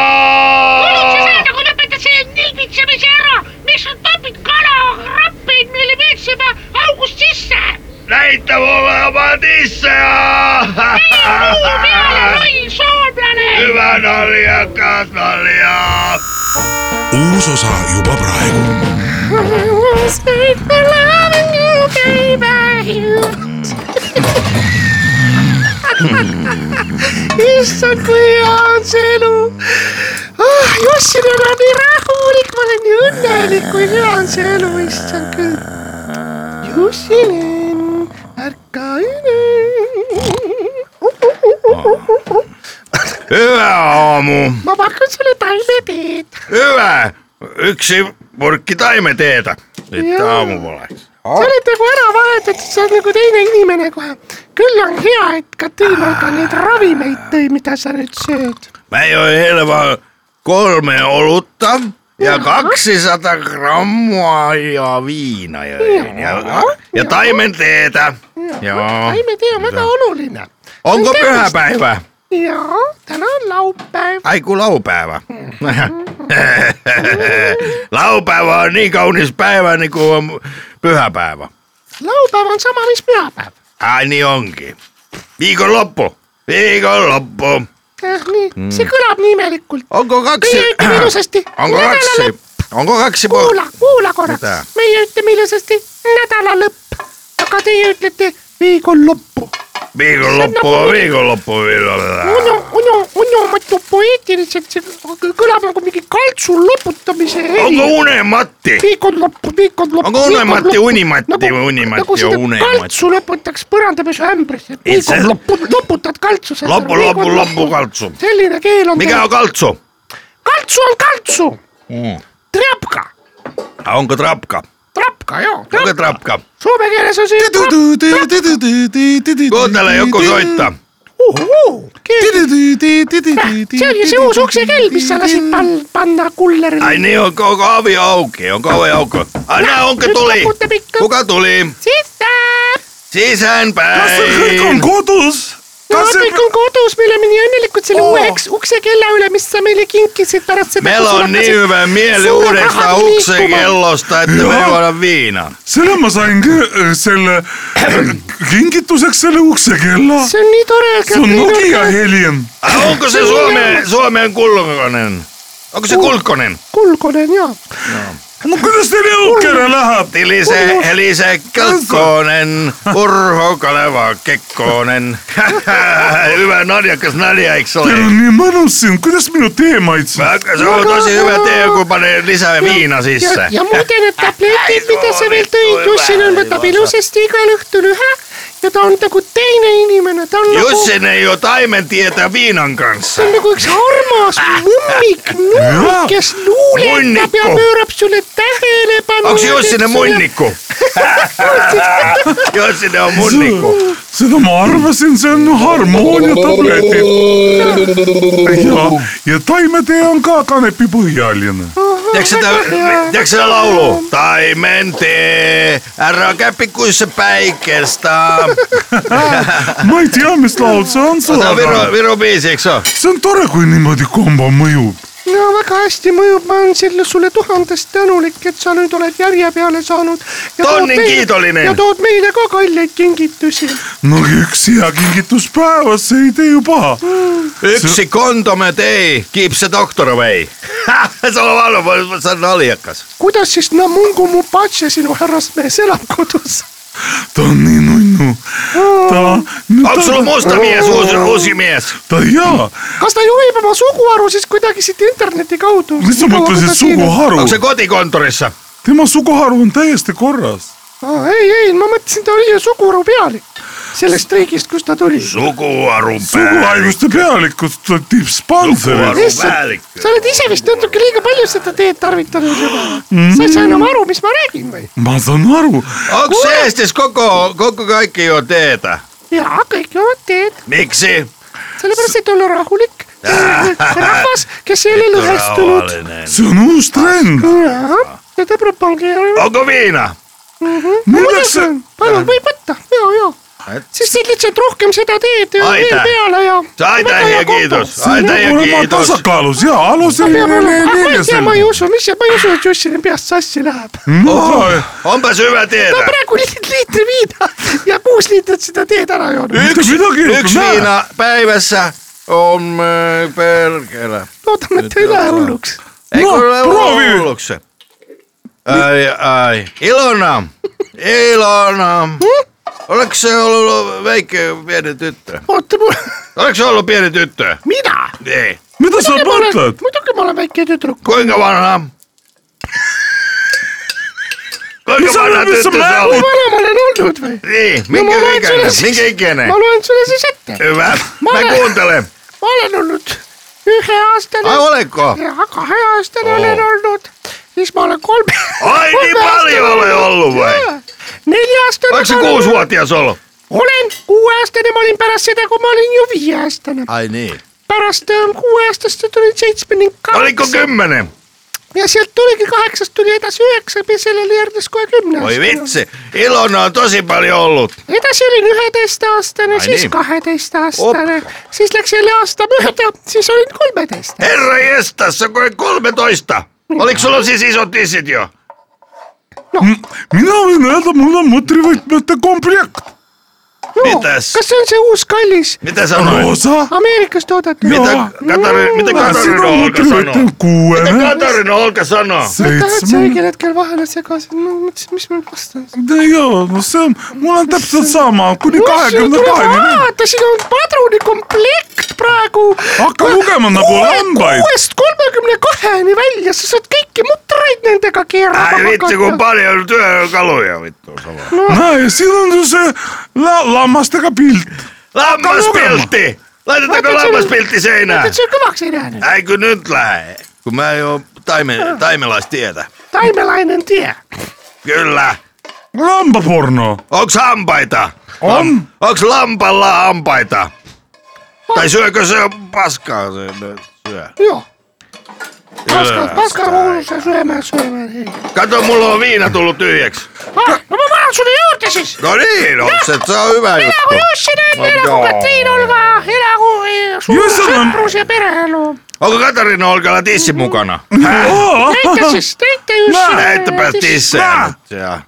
[SPEAKER 7] olid sa seda , kui lõpetad selle nilbitsemise ära , miks sa topid kalakrappeid meile veetsema august sisse ?
[SPEAKER 4] näita mulle oma tisse .
[SPEAKER 7] puu peale , loll soomlane .
[SPEAKER 4] hüve nali ja kasvali ja .
[SPEAKER 8] uus osa juba praegu .
[SPEAKER 7] I was made for loving you, baby. issand , kui hea on see elu ah, . Jussil on nii rahulik , ma olen nii õnnelik , kui hea on see elu , issand küll . Jussilin , ärka Uh, üle .
[SPEAKER 1] hüve aamu ,
[SPEAKER 7] ma pakun sulle taimeteed .
[SPEAKER 1] hüve , üksi purki taimeteed , et
[SPEAKER 7] Jaa.
[SPEAKER 1] aamu poleks .
[SPEAKER 7] sa oled nagu ära vahetatud , sa oled nagu teine inimene kohe . küll on hea , et Katriin on ka neid ravimeid tõi , mida sa nüüd sööd .
[SPEAKER 1] me jõi eile vahel kolme oluta ja kakssada grammu aia viina jõin ja , ja taimeteed ja
[SPEAKER 7] taimetee on väga oluline .
[SPEAKER 1] on ka pühapäev ,
[SPEAKER 7] ja täna on laupäev .
[SPEAKER 1] ai kui laupäev . laupäev on nii kaunis päev nagu on pühapäev .
[SPEAKER 7] laupäev on sama , mis pühapäev .
[SPEAKER 1] Ah, nii ongi . viikonloppu , viikonloppu .
[SPEAKER 7] nii , see kõlab nii imelikult .
[SPEAKER 1] onko kaksi
[SPEAKER 7] meie ? ütleme ilusasti .
[SPEAKER 1] onko kaksi ? onko kaksi
[SPEAKER 7] kuula , kuula
[SPEAKER 1] Mida?
[SPEAKER 7] korraks . meie ütleme ilusasti nädala lõpp , aga teie ütlete viikonloppu .
[SPEAKER 1] Viikonloppu on viikonloppu .
[SPEAKER 7] Uno , Uno , Uno mõtleb poeetiliselt , see kõlab nagu mingi kaltsu loputamise
[SPEAKER 1] onko
[SPEAKER 7] heli .
[SPEAKER 1] unematti ?
[SPEAKER 7] viikonloppu , viikonloppu .
[SPEAKER 1] Onko unematti, unimatti või unimatti
[SPEAKER 7] nagu
[SPEAKER 1] ja
[SPEAKER 7] seda
[SPEAKER 1] unematti?
[SPEAKER 7] kaltsu lõputaks põrandapesu ämbrisse .
[SPEAKER 1] Ei, see-
[SPEAKER 7] viikonloppu loputad kaltsu .
[SPEAKER 1] Lopu- lopu- lopu kaltsu.
[SPEAKER 7] selline keel on .
[SPEAKER 1] mikä on kaltsu ?
[SPEAKER 7] kaltsu on kaltsu .
[SPEAKER 1] Mm.
[SPEAKER 7] trapka ,
[SPEAKER 1] onko trapka ?
[SPEAKER 7] trapka joo .
[SPEAKER 1] onko trapka ?
[SPEAKER 7] Soome keeles on see .
[SPEAKER 1] kuuntele Juku soita .
[SPEAKER 7] see oli see uus uksekell , mis sa lasid pan- panna kullerile .
[SPEAKER 1] ai niin on koko ovi auki , on ovi auki . ai näe onko
[SPEAKER 7] Nyt
[SPEAKER 1] tuli
[SPEAKER 7] loputte pikku. .
[SPEAKER 1] kuka tuli ?
[SPEAKER 7] sisse
[SPEAKER 2] kas see kõik on
[SPEAKER 1] sisäänpäin .
[SPEAKER 2] kodus ?
[SPEAKER 7] no
[SPEAKER 2] kas
[SPEAKER 7] kõik
[SPEAKER 2] see ,
[SPEAKER 7] on kodus , me oleme nii õnnelikud selle
[SPEAKER 2] Oo.
[SPEAKER 7] uue uks , uksekella üle , mis sa meile kinkisid pärast seda .
[SPEAKER 1] Meillä on niin hyvä mieli uudesta uksekellosta , että me
[SPEAKER 2] Joo.
[SPEAKER 1] juodaan viinaa .
[SPEAKER 2] selle ma sain kõ- äh, selle äh, kingituseks selle uksekella .
[SPEAKER 7] see on nii tore .
[SPEAKER 2] see on Nokia helin .
[SPEAKER 1] Ah, onko se
[SPEAKER 7] Se Niin on
[SPEAKER 1] Suome, Suomen kulkonen? Onko se kulkonen?
[SPEAKER 7] kulkonen ja .
[SPEAKER 2] no kuidas teil jõukene läheb ?
[SPEAKER 1] Elise , Elise Kekkonen , Urho Kaleva Kekkonen . hüve naljakas nali , eks ole
[SPEAKER 2] Teil . on
[SPEAKER 7] niin
[SPEAKER 2] nii mõnus siin , kuidas minu tee maitseb ?
[SPEAKER 1] väga , see on tosi hüve tee , kui paned lisa viina sisse .
[SPEAKER 7] ja muide need tabletid , mida sa veel tõid , Jussil on , võtab ilusasti igal õhtul ühe ja ta on nagu teine inimene , ta on nagu ,
[SPEAKER 1] Jussi ei ju taimen tiedä viinan kanssa .
[SPEAKER 7] ta on nagu üks armas mummik , null , kes luuletab ja
[SPEAKER 1] Munniku.
[SPEAKER 7] pöörab sulle tähelepanu .
[SPEAKER 1] Onks Jussine munniku ? Jussine on munniku .
[SPEAKER 2] seda ma arvasin , see on harmoonia tabletid . ja , ja taimetee on ka kanepipõhjaline .
[SPEAKER 1] Tiedätkö sitä, tiedätkö sitä laulu? Taimen tee, älä käpikuissa päikestä.
[SPEAKER 2] ma ei tea , mis laul see on ,
[SPEAKER 1] Tämä on
[SPEAKER 2] see
[SPEAKER 1] Viro, Viro biisi, eikö se ole?
[SPEAKER 2] on tore , kui niimoodi kombo mõjub .
[SPEAKER 7] no väga hästi mõjub , ma olen selle sulle tuhandest tänulik , et sa nüüd oled järje peale saanud .
[SPEAKER 1] Tonni kiitollinen.
[SPEAKER 7] ja tood meile ka kalleid kingitusi .
[SPEAKER 2] no üks hea kingitus päevas , see ei tee ju paha .
[SPEAKER 1] Yksi kontome tei, kipse doktora vei. se on valvo, se on naljakas.
[SPEAKER 7] kuidas siis Namungu Mupatše sinu härrasmees elab kodus ?
[SPEAKER 2] ta on nii nunnu . ta ,
[SPEAKER 1] Onko sulla
[SPEAKER 2] ta ,
[SPEAKER 1] musta mies, uusi, uusi mies?
[SPEAKER 4] Tuota-
[SPEAKER 2] ta jaa ,
[SPEAKER 7] kas ta juhib oma suguharu siis kuidagi siit interneti kaudu ?
[SPEAKER 2] mis sa mõtlesid ? suguharu
[SPEAKER 1] Onko se , kotikonttorissa?
[SPEAKER 2] tema suguharu on täiesti korras .
[SPEAKER 7] ei , ei , ma mõtlesin , ta oli ju suguharu pealik sellest riigist , kust ta tuli .
[SPEAKER 1] Sukuarun
[SPEAKER 2] suguhaiguste pealikud , ta on tippspanser .
[SPEAKER 1] Suguharu päällikkö.
[SPEAKER 7] sa oled ise vist natuke liiga palju seda teed tarvitanud juba .
[SPEAKER 1] Mm-hmm.
[SPEAKER 7] sa ei saa enam aru , mis ma räägin või ?
[SPEAKER 2] ma saan aru ,
[SPEAKER 1] Onko se Eestis koko, koko kaikki jo teetä?
[SPEAKER 7] jaa , kõik joovad teed .
[SPEAKER 1] Miksi?
[SPEAKER 7] sellepärast , et olla rahulik rahvas , kes ei ole lõhestunud .
[SPEAKER 1] Rauhallinen.
[SPEAKER 2] see on uus trend .
[SPEAKER 7] ja ta tuleb pange ära .
[SPEAKER 1] Onko viina?
[SPEAKER 2] milleks see ,
[SPEAKER 7] palun , võib võtta , ja , ja . siis teed lihtsalt rohkem seda teed ja
[SPEAKER 1] Aitäh.
[SPEAKER 7] veel peale ja .
[SPEAKER 1] Aitäh ja kiitos.
[SPEAKER 2] see
[SPEAKER 1] Aitäh
[SPEAKER 2] peab
[SPEAKER 1] ja
[SPEAKER 2] olema
[SPEAKER 1] kiitos.
[SPEAKER 2] tasakaalus ja
[SPEAKER 7] ma ei tea , ma ei
[SPEAKER 2] alusel .
[SPEAKER 7] usu , mis see , ma ei usu , et Jussile peast sassi läheb .
[SPEAKER 1] Onpas hyvä
[SPEAKER 7] ta
[SPEAKER 1] teetä.
[SPEAKER 7] praegu liit- liitri viina ja kuus liitrit seda teed ära joonud .
[SPEAKER 2] mitte midagi ei
[SPEAKER 1] Yksi viina päivässä on äh, perkele.
[SPEAKER 7] loodame , et ta ei lähe hulluks .
[SPEAKER 1] Ei
[SPEAKER 2] No,
[SPEAKER 1] kun ole
[SPEAKER 2] proovi.
[SPEAKER 1] hulluksi. Ai, ai. Ilona. Ilona. Oletko se ollut väikö pieni tyttö?
[SPEAKER 7] oota , mul ,
[SPEAKER 1] Oletko se ollut pieni tyttö?
[SPEAKER 7] mina ?
[SPEAKER 1] Ei.
[SPEAKER 2] mida sa mõtled ?
[SPEAKER 7] muidugi ma olen väike tüdruk .
[SPEAKER 1] Kuinka vanha? Kuinka
[SPEAKER 2] Isä,
[SPEAKER 1] vanha
[SPEAKER 2] missä
[SPEAKER 1] tyttö
[SPEAKER 2] mä
[SPEAKER 1] sä
[SPEAKER 2] oon?
[SPEAKER 1] olet?
[SPEAKER 7] vana ma olen olnud või ?
[SPEAKER 1] Niin,
[SPEAKER 7] no
[SPEAKER 1] minkä
[SPEAKER 7] ma loen sulle
[SPEAKER 1] ikäinen? Minkä ikäinen?
[SPEAKER 7] ma loen sulle siis ette .
[SPEAKER 1] Hyvä.
[SPEAKER 7] Mä
[SPEAKER 1] Mä
[SPEAKER 7] olen-
[SPEAKER 1] kuuntelen.
[SPEAKER 7] ma olen olnud üheaastane
[SPEAKER 1] Ai oletko?
[SPEAKER 7] ja kaheaastane oh. olen olnud , siis ma olen kolme .
[SPEAKER 1] Ai niin paljon ole ollut vai?
[SPEAKER 7] nelja-aastane .
[SPEAKER 1] Oletko se kuusivuotias ollut?
[SPEAKER 7] olen kuueaastane , ma olin pärast seda , kui ma olin ju viieaastane .
[SPEAKER 1] Ai niin.
[SPEAKER 7] pärast ähm, kuueaastast tulin seitsme ning
[SPEAKER 1] Oliko
[SPEAKER 7] kaks
[SPEAKER 1] kymmenen?
[SPEAKER 7] ja sealt tuligi kaheksast tuli edasi üheksa ja sellele järgnes kohe
[SPEAKER 1] Voi
[SPEAKER 7] kümne .
[SPEAKER 1] vitsi, Ilona on tosi paljon ollut.
[SPEAKER 7] edasi olin üheteistaastane ,
[SPEAKER 1] Ai
[SPEAKER 7] siis
[SPEAKER 1] niin.
[SPEAKER 7] kaheteistaastane , siis läks jälle aasta mööda , siis olin kolmeteist .
[SPEAKER 1] Herra jestas, se on 13. Oliko sulla siis isot isit jo?
[SPEAKER 2] mina võin öelda , mul on mutrivõtmete komplekt .
[SPEAKER 1] Mitäs?
[SPEAKER 7] kas see on see uus kallis
[SPEAKER 1] Mitä sanoit?
[SPEAKER 2] osa .
[SPEAKER 7] Ameerikast toodetud ?
[SPEAKER 1] Mitä Katarina, mitä Katarina
[SPEAKER 2] sinu
[SPEAKER 1] Olka sanoo?
[SPEAKER 2] mutrivõtmine kuuene ,
[SPEAKER 1] Katarina Olka sanoo?
[SPEAKER 7] tahad sa
[SPEAKER 2] seitsme .
[SPEAKER 7] õigel hetkel vahele segasid , ma mõtlesin , mis ma nüüd vastan .
[SPEAKER 2] jaa , no see on , mul on täpselt sama kuni kahekümne kaheni .
[SPEAKER 7] vaata , siin on padrunikomplekt praegu .
[SPEAKER 2] Hakka lugema nagu lambaid.
[SPEAKER 7] kuuest kolmekümne kaheni välja , sa saad kõiki mutreid nendega
[SPEAKER 1] Ai
[SPEAKER 7] keerama
[SPEAKER 1] vitsi, kun paljon työkaluja vittu sama.
[SPEAKER 2] näe , ja siin on ju see la- lammastega pilt .
[SPEAKER 1] Lammaspiltti! Laitetaanko
[SPEAKER 7] Laitetaan sen-
[SPEAKER 1] lammaspiltti seinään?
[SPEAKER 7] et see kõvaks ei lähe nüüd ,
[SPEAKER 1] Äikö nyt lähe? Kun mä en oo taime, taimelaistiedä.
[SPEAKER 7] taimelainen tee .
[SPEAKER 1] Kyllä.
[SPEAKER 2] lambaporno .
[SPEAKER 1] Onks hampaita?
[SPEAKER 2] on ,
[SPEAKER 1] Onks lampalla hampaita? Tai syökö se paskaa se nyt syö?
[SPEAKER 7] joo , paska , paska hulluse sööme , sööme .
[SPEAKER 1] Kato, mulla on viina tullut tyhjäksi.
[SPEAKER 7] no ma panen sulle juurde siis .
[SPEAKER 1] No niin, on se, se on hyvä juttu.
[SPEAKER 7] elagu Jussi Näit , elagu
[SPEAKER 1] joo.
[SPEAKER 7] Katriin Olva , elagu eh, suur
[SPEAKER 2] Jussi on-
[SPEAKER 7] sõprus ja pereelu .
[SPEAKER 1] Onko Katarina Olkalla tissi mukana?
[SPEAKER 7] näita siis , näita Jussi . Siis,
[SPEAKER 1] Näyttäpäs tissejä nyt. Ja.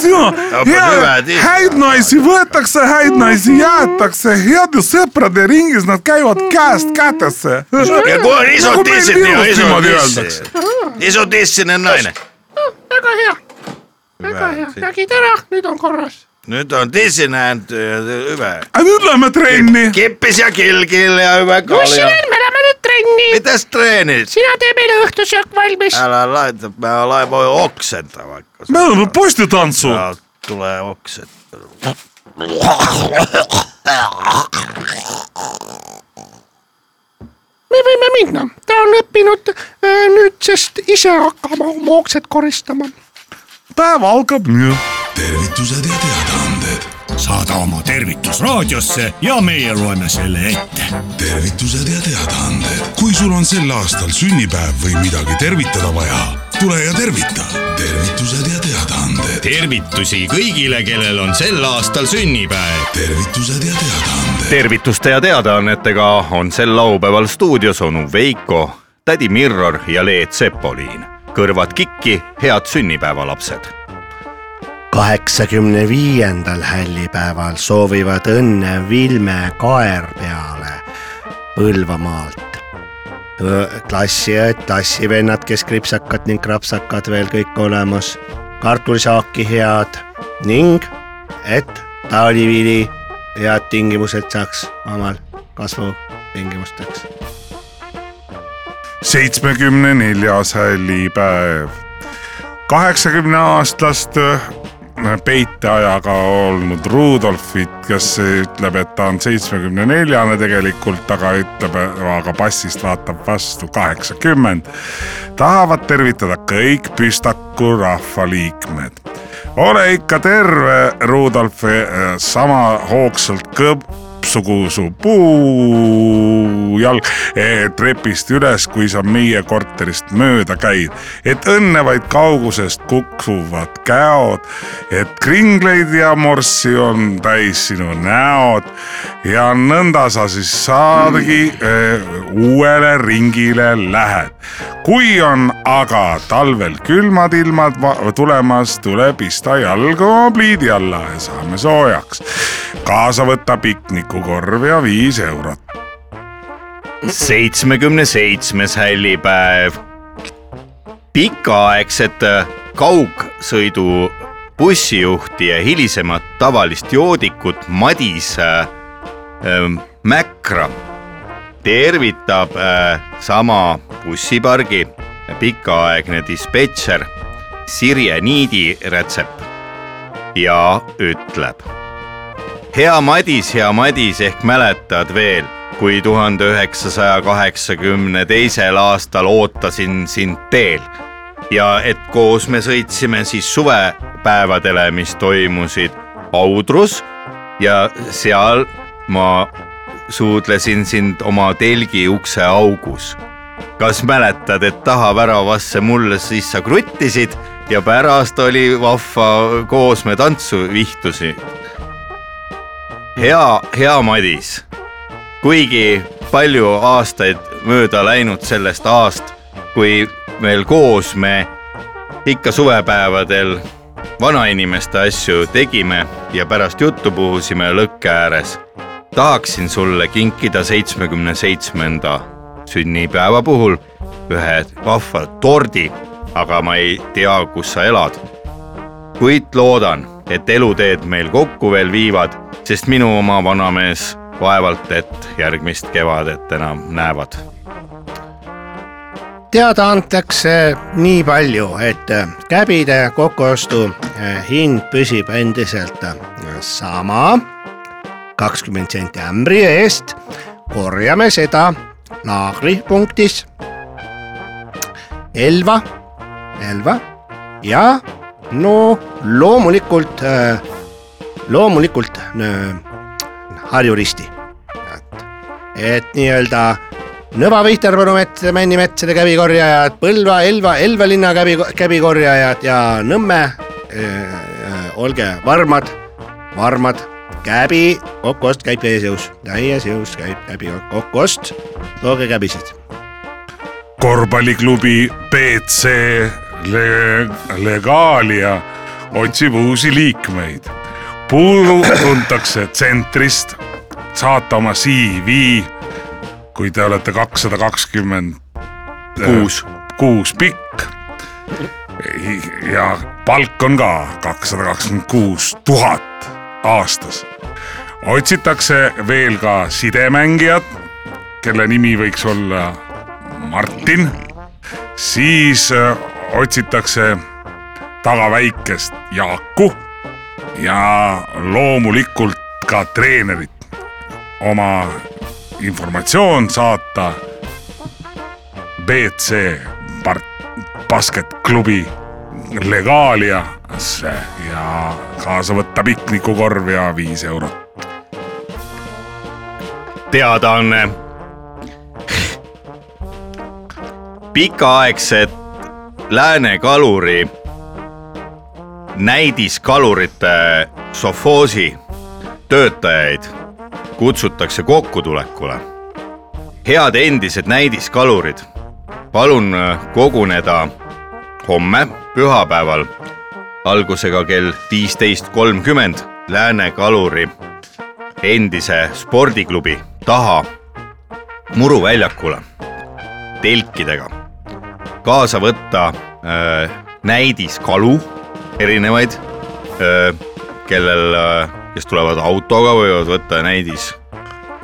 [SPEAKER 2] sina ,
[SPEAKER 1] hyvä
[SPEAKER 2] hea ,
[SPEAKER 1] tiis-
[SPEAKER 2] häid naisi võetakse , häid naisi jäetakse , heade sõprade ringis nad käivad käest kätesse .
[SPEAKER 1] ja kun on isot
[SPEAKER 2] Nagu meil
[SPEAKER 1] tissit, niin on
[SPEAKER 2] Virus
[SPEAKER 1] iso
[SPEAKER 2] niimoodi
[SPEAKER 1] tissi.
[SPEAKER 2] öeldakse.
[SPEAKER 1] Iso tissinen nainen.
[SPEAKER 7] väga hea , väga hea , nägid ära , nüüd on korras .
[SPEAKER 1] nüüd on Disneyland ja hüve .
[SPEAKER 2] aga nüüd lähme trenni .
[SPEAKER 1] kippis ja kilgil ja hüve kalja .
[SPEAKER 7] Jussinen , me lähme nüüd trenni ,
[SPEAKER 1] mitäs treenid ?
[SPEAKER 7] sina tee meile õhtusöök valmis .
[SPEAKER 1] älä laita, mä laivoin oksenta vaikka.
[SPEAKER 2] me oleme postitantsu .
[SPEAKER 1] Tää Tulee okset.
[SPEAKER 7] me võime minna , ta on õppinud äh, nüüdsest ise hakkama oma oksed koristama .
[SPEAKER 2] päev algab nüüd .
[SPEAKER 8] tervitused ja teadaanded ,
[SPEAKER 5] saada oma tervitus raadiosse ja meie loeme selle ette .
[SPEAKER 8] tervitused ja teadaanded . kui sul on sel aastal sünnipäev või midagi tervitada vaja , tule ja tervita . tervitused ja teadaanded ,
[SPEAKER 4] tervitusi kõigile , kellel on sel aastal sünnipäev .
[SPEAKER 8] tervitused ja teadaanded ,
[SPEAKER 1] tervituste ja teadaannetega on sel laupäeval stuudios onu Veiko , tädi Mirror ja Leet Sepoliin . kõrvad kikki , head sünnipäeva , lapsed .
[SPEAKER 3] kaheksakümne viiendal hällipäeval soovivad õnne Vilme Kaerpeale Põlvamaalt . klassiõed , klassivennad , kes kripsakad ning krapsakad veel kõik olemas , kartulisaaki head ning et taolivili head tingimused saaks omal kasvutingimusteks .
[SPEAKER 2] seitsmekümne neljas hällipäev . kaheksakümne aastast äh, peiteajaga olnud Rudolfit , kes ütleb , et ta on seitsmekümne neljane tegelikult , aga ütleb , aga passist vaatab vastu kaheksakümmend . tahavad tervitada kõik Püstaku rahvaliikmed . ole ikka terve , Rudolf , sama hoogsalt kõp- , sugu su puujalg eh, trepist üles , kui sa meie korterist mööda käid , et õnne vaid kaugusest kukuvad käod , et kringleid ja morssi on täis sinu näod ja nõnda sa siis saadagi eh, uuele ringile lähed . kui on aga talvel külmad ilmad va- tulemas , tule pista jalg oma pliidi alla ja saame soojaks . kaasa võtta piknikukorv ja viis eurot .
[SPEAKER 1] seitsmekümne seitsmes hällipäev . äh, pikaaegsete kaugsõidu bussijuhti ja hilisemat tavalist joodikut Madis äh, ähm, Mäkra tervitab äh, sama bussipargi pikaaegne dispetšer Sirje Niidi rätsep ja ütleb hea Madis , hea Madis , ehk mäletad veel , kui tuhande üheksasaja kaheksakümne teisel aastal ootasin sind teel ja et koos me sõitsime siis suvepäevadele , mis toimusid Audrus ja seal ma suudlesin sind oma telgi ukse augus . kas mäletad , et tahaväravasse mulle siis sa kruttisid ja pärast oli vahva koos me tantsu vihtusi hea , hea Madis , kuigi palju aastaid mööda läinud sellest aast , kui veel koos me ikka suvepäevadel vanainimeste asju tegime ja pärast juttu puhusime lõkke ääres . tahaksin sulle kinkida seitsmekümne seitsmenda sünnipäeva puhul ühe vahva tordi , aga ma ei tea , kus sa elad kuid loodan , et eluteed meil kokku veel viivad , sest minu oma vanamees vaevalt , et järgmist kevadet enam näevad .
[SPEAKER 3] teada antakse nii palju , et äh, käbide kokkuostu eh, hind püsib endiselt äh, sama , kakskümmend senti ämbri eest . korjame seda naagripunktis Elva , Elva ja no loomulikult , loomulikult eh, Harju Risti . et nii-öelda Nõva Vihterpalu mets , Männimetsade käbikorjajad , Põlva , Elva , Elva linna käbi , käbikorjajad ja Nõmme äh, . olge varmad , varmad , käbi kokkuost käib täies jõus , täies jõus käib käbi kokkuost , tooge käbisid .
[SPEAKER 2] korvpalliklubi BC Le Legalia otsib uusi liikmeid . puudu tuntakse tsentrist , saata oma CV , kui te olete kakssada kakskümmend
[SPEAKER 1] kuus ,
[SPEAKER 2] kuus pikk . ja palk on ka kakssada kakskümmend kuus tuhat aastas . otsitakse veel ka sidemängijat , kelle nimi võiks olla Martin , siis äh, otsitakse taga väikest Jaaku ja loomulikult ka treenerit . oma informatsioon saata BC Part- basketklubi Legaliasse ja kaasa võtta piknikukorv ja viis eurot .
[SPEAKER 1] teadaanne . pikaaegset Lääne kaluri näidiskalurite sovhoosi äh, töötajaid kutsutakse kokkutulekule . head endised näidiskalurid , palun äh, koguneda homme , pühapäeval algusega kell viisteist kolmkümmend Lääne kaluri endise spordiklubi taha muruväljakule telkidega . kaasa võtta öö, näidiskalu erinevaid , kellel , kes tulevad autoga , võivad võtta näidis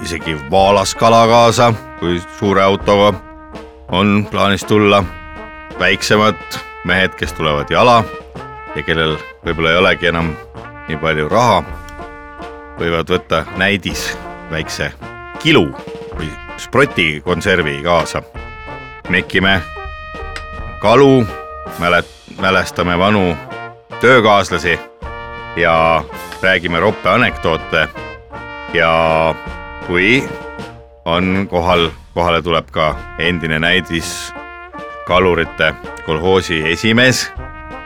[SPEAKER 1] isegi vaalaskala kaasa , kui suure autoga on plaanis tulla . väiksemad mehed , kes tulevad jala ja kellel võib-olla ei olegi enam nii palju raha võivad võtta näidis väikse kilu või sproti konservi kaasa . mekime kalu , mälet- , mälestame vanu töökaaslasi ja räägime roppe anekdoote ja kui on kohal , kohale tuleb ka endine näidis kalurite kolhoosi esimees ,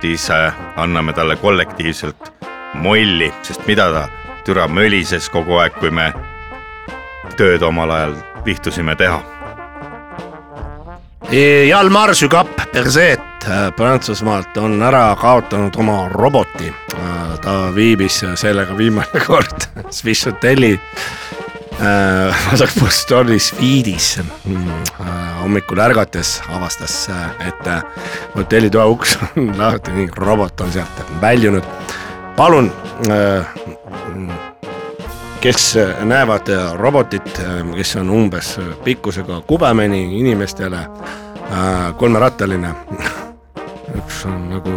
[SPEAKER 1] siis äh, anname talle kollektiivselt molli , sest mida ta türa mölises kogu aeg , kui me tööd omal ajal pihtusime teha .
[SPEAKER 3] E, Jalmar Sügap Perset äh, Prantsusmaalt on ära kaotanud oma roboti . ta viibis sellega viimane kord Swiss hotelli äh, vasakpoolses tornis Viidis . hommikul ärgates avastas , et äh, hotellitoa uks on lahti ning robot on sealt väljunud . palun äh, kes äh, näevad robotit , kes on umbes äh, pikkusega kubemeni inimestele , kolmerattaline , üks on nagu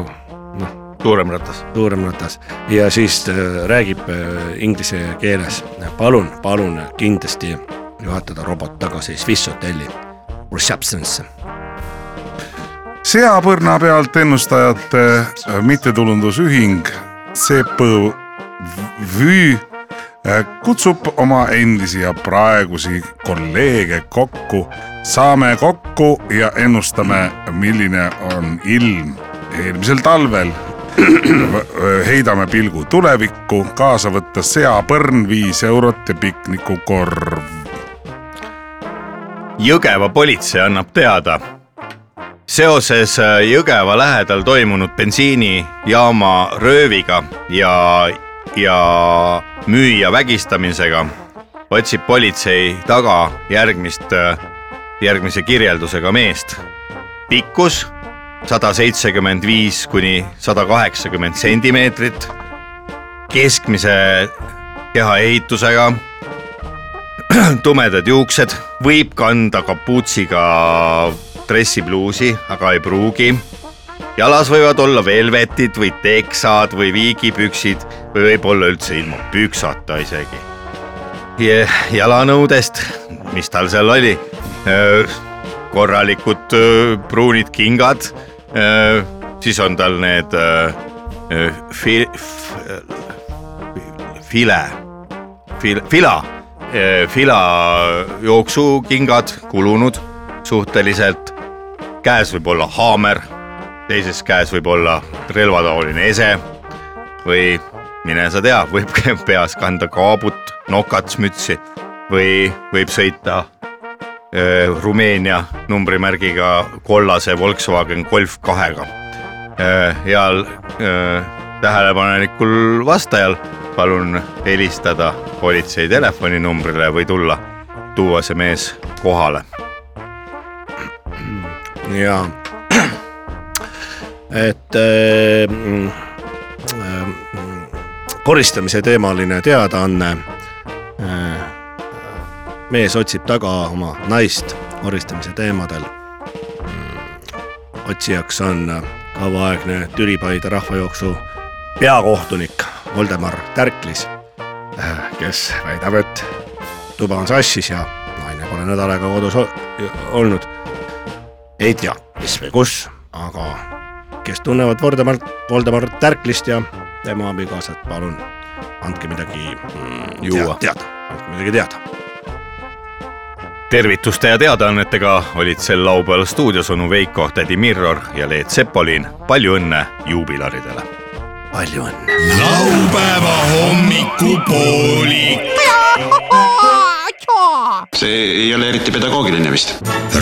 [SPEAKER 3] noh ,
[SPEAKER 1] suurem ratas .
[SPEAKER 3] suurem ratas ja siis äh, räägib äh, inglise keeles . palun , palun kindlasti juhatada robot tagasi Swiss hotelli reception'isse .
[SPEAKER 2] seapõrna pealt ennustajate äh, mittetulundusühing CPV äh, kutsub oma endisi ja praegusi kolleege kokku . saame kokku ja ennustame , milline on ilm eelmisel talvel Võ- heidame pilgu tulevikku , kaasa võtta seapõrn , viis eurot ja piknikukorv .
[SPEAKER 1] Jõgeva politsei annab teada seoses äh, Jõgeva lähedal toimunud bensiinijaama rööviga ja , ja müüja vägistamisega otsib politsei taga järgmist , järgmise kirjeldusega meest . pikkus sada seitsekümmend viis kuni sada kaheksakümmend sentimeetrit , keskmise kehaehitusega tumedad juuksed , võib kanda kapuutsiga dressipluusi , aga ei pruugi . jalas võivad olla velvetid või teksad või viigipüksid või võib-olla üldse ilma püksata isegi . jalanõudest , mis tal seal oli , korralikud öö, pruunid kingad , siis on tal need öö, öö, fi- , file fil- , fila , fila jooksukingad kulunud suhteliselt . käes võib olla haamer , teises käes võib olla relvataoline ese või mine sa tea , võib peas kanda kaabut , nokatsmütsi või võib sõita öö, Rumeenia numbrimärgiga kollase Volkswagen Golf kahega . Äh, heal öö, tähelepanelikul vastajal palun helistada politsei telefoninumbrile või tulla , tuua see mees kohale .
[SPEAKER 3] ja
[SPEAKER 9] et äh, mm, äh, koristamise teemaline teadaanne äh, . mees otsib taga oma naist koristamise teemadel . otsijaks on äh, kauaaegne Türipaide rahvajooksu peakohtunik Voldemar Tärklis , kes väidab , et tuba on sassis ja naine pole nädal aega kodus o- olnud . ei tea , mis või kus , aga kes tunnevad Voldemar , Voldemar Tärklist ja tema abikaasat , palun andke midagi mm, tea-
[SPEAKER 1] Juua.
[SPEAKER 9] teada , andke midagi teada .
[SPEAKER 1] tervituste ja teadaannetega olid sel laupäeval stuudios onu Veiko , tädi Mirror ja Leet Sepolin . palju õnne juubilaridele .
[SPEAKER 9] palju õnne .
[SPEAKER 4] laupäeva hommikupoolik .
[SPEAKER 6] see ei ole eriti pedagoogiline vist .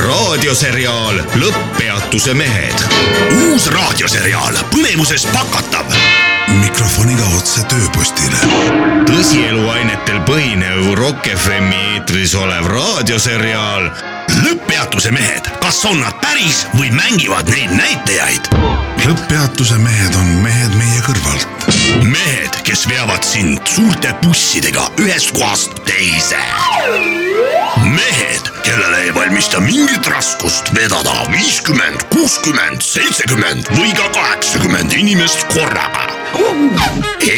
[SPEAKER 4] raadioseriaal Lõpppeatuse mehed . uus raadioseriaal põnevuses pakatav .
[SPEAKER 10] mikrofoniga otse tööpostile .
[SPEAKER 4] tõsieluainetel põhinev Rock FM-i eetris olev raadioseriaal Lõpppeatuse mehed , kas on nad päris või mängivad neid näitajaid ?
[SPEAKER 10] lõpppeatuse mehed on mehed meie kõrvalt .
[SPEAKER 4] mehed , kes veavad sind suurte bussidega ühest kohast teise . mehed , kellele ei valmista mingit raskust vedada viiskümmend , kuuskümmend , seitsekümmend või ka kaheksakümmend inimest korraga .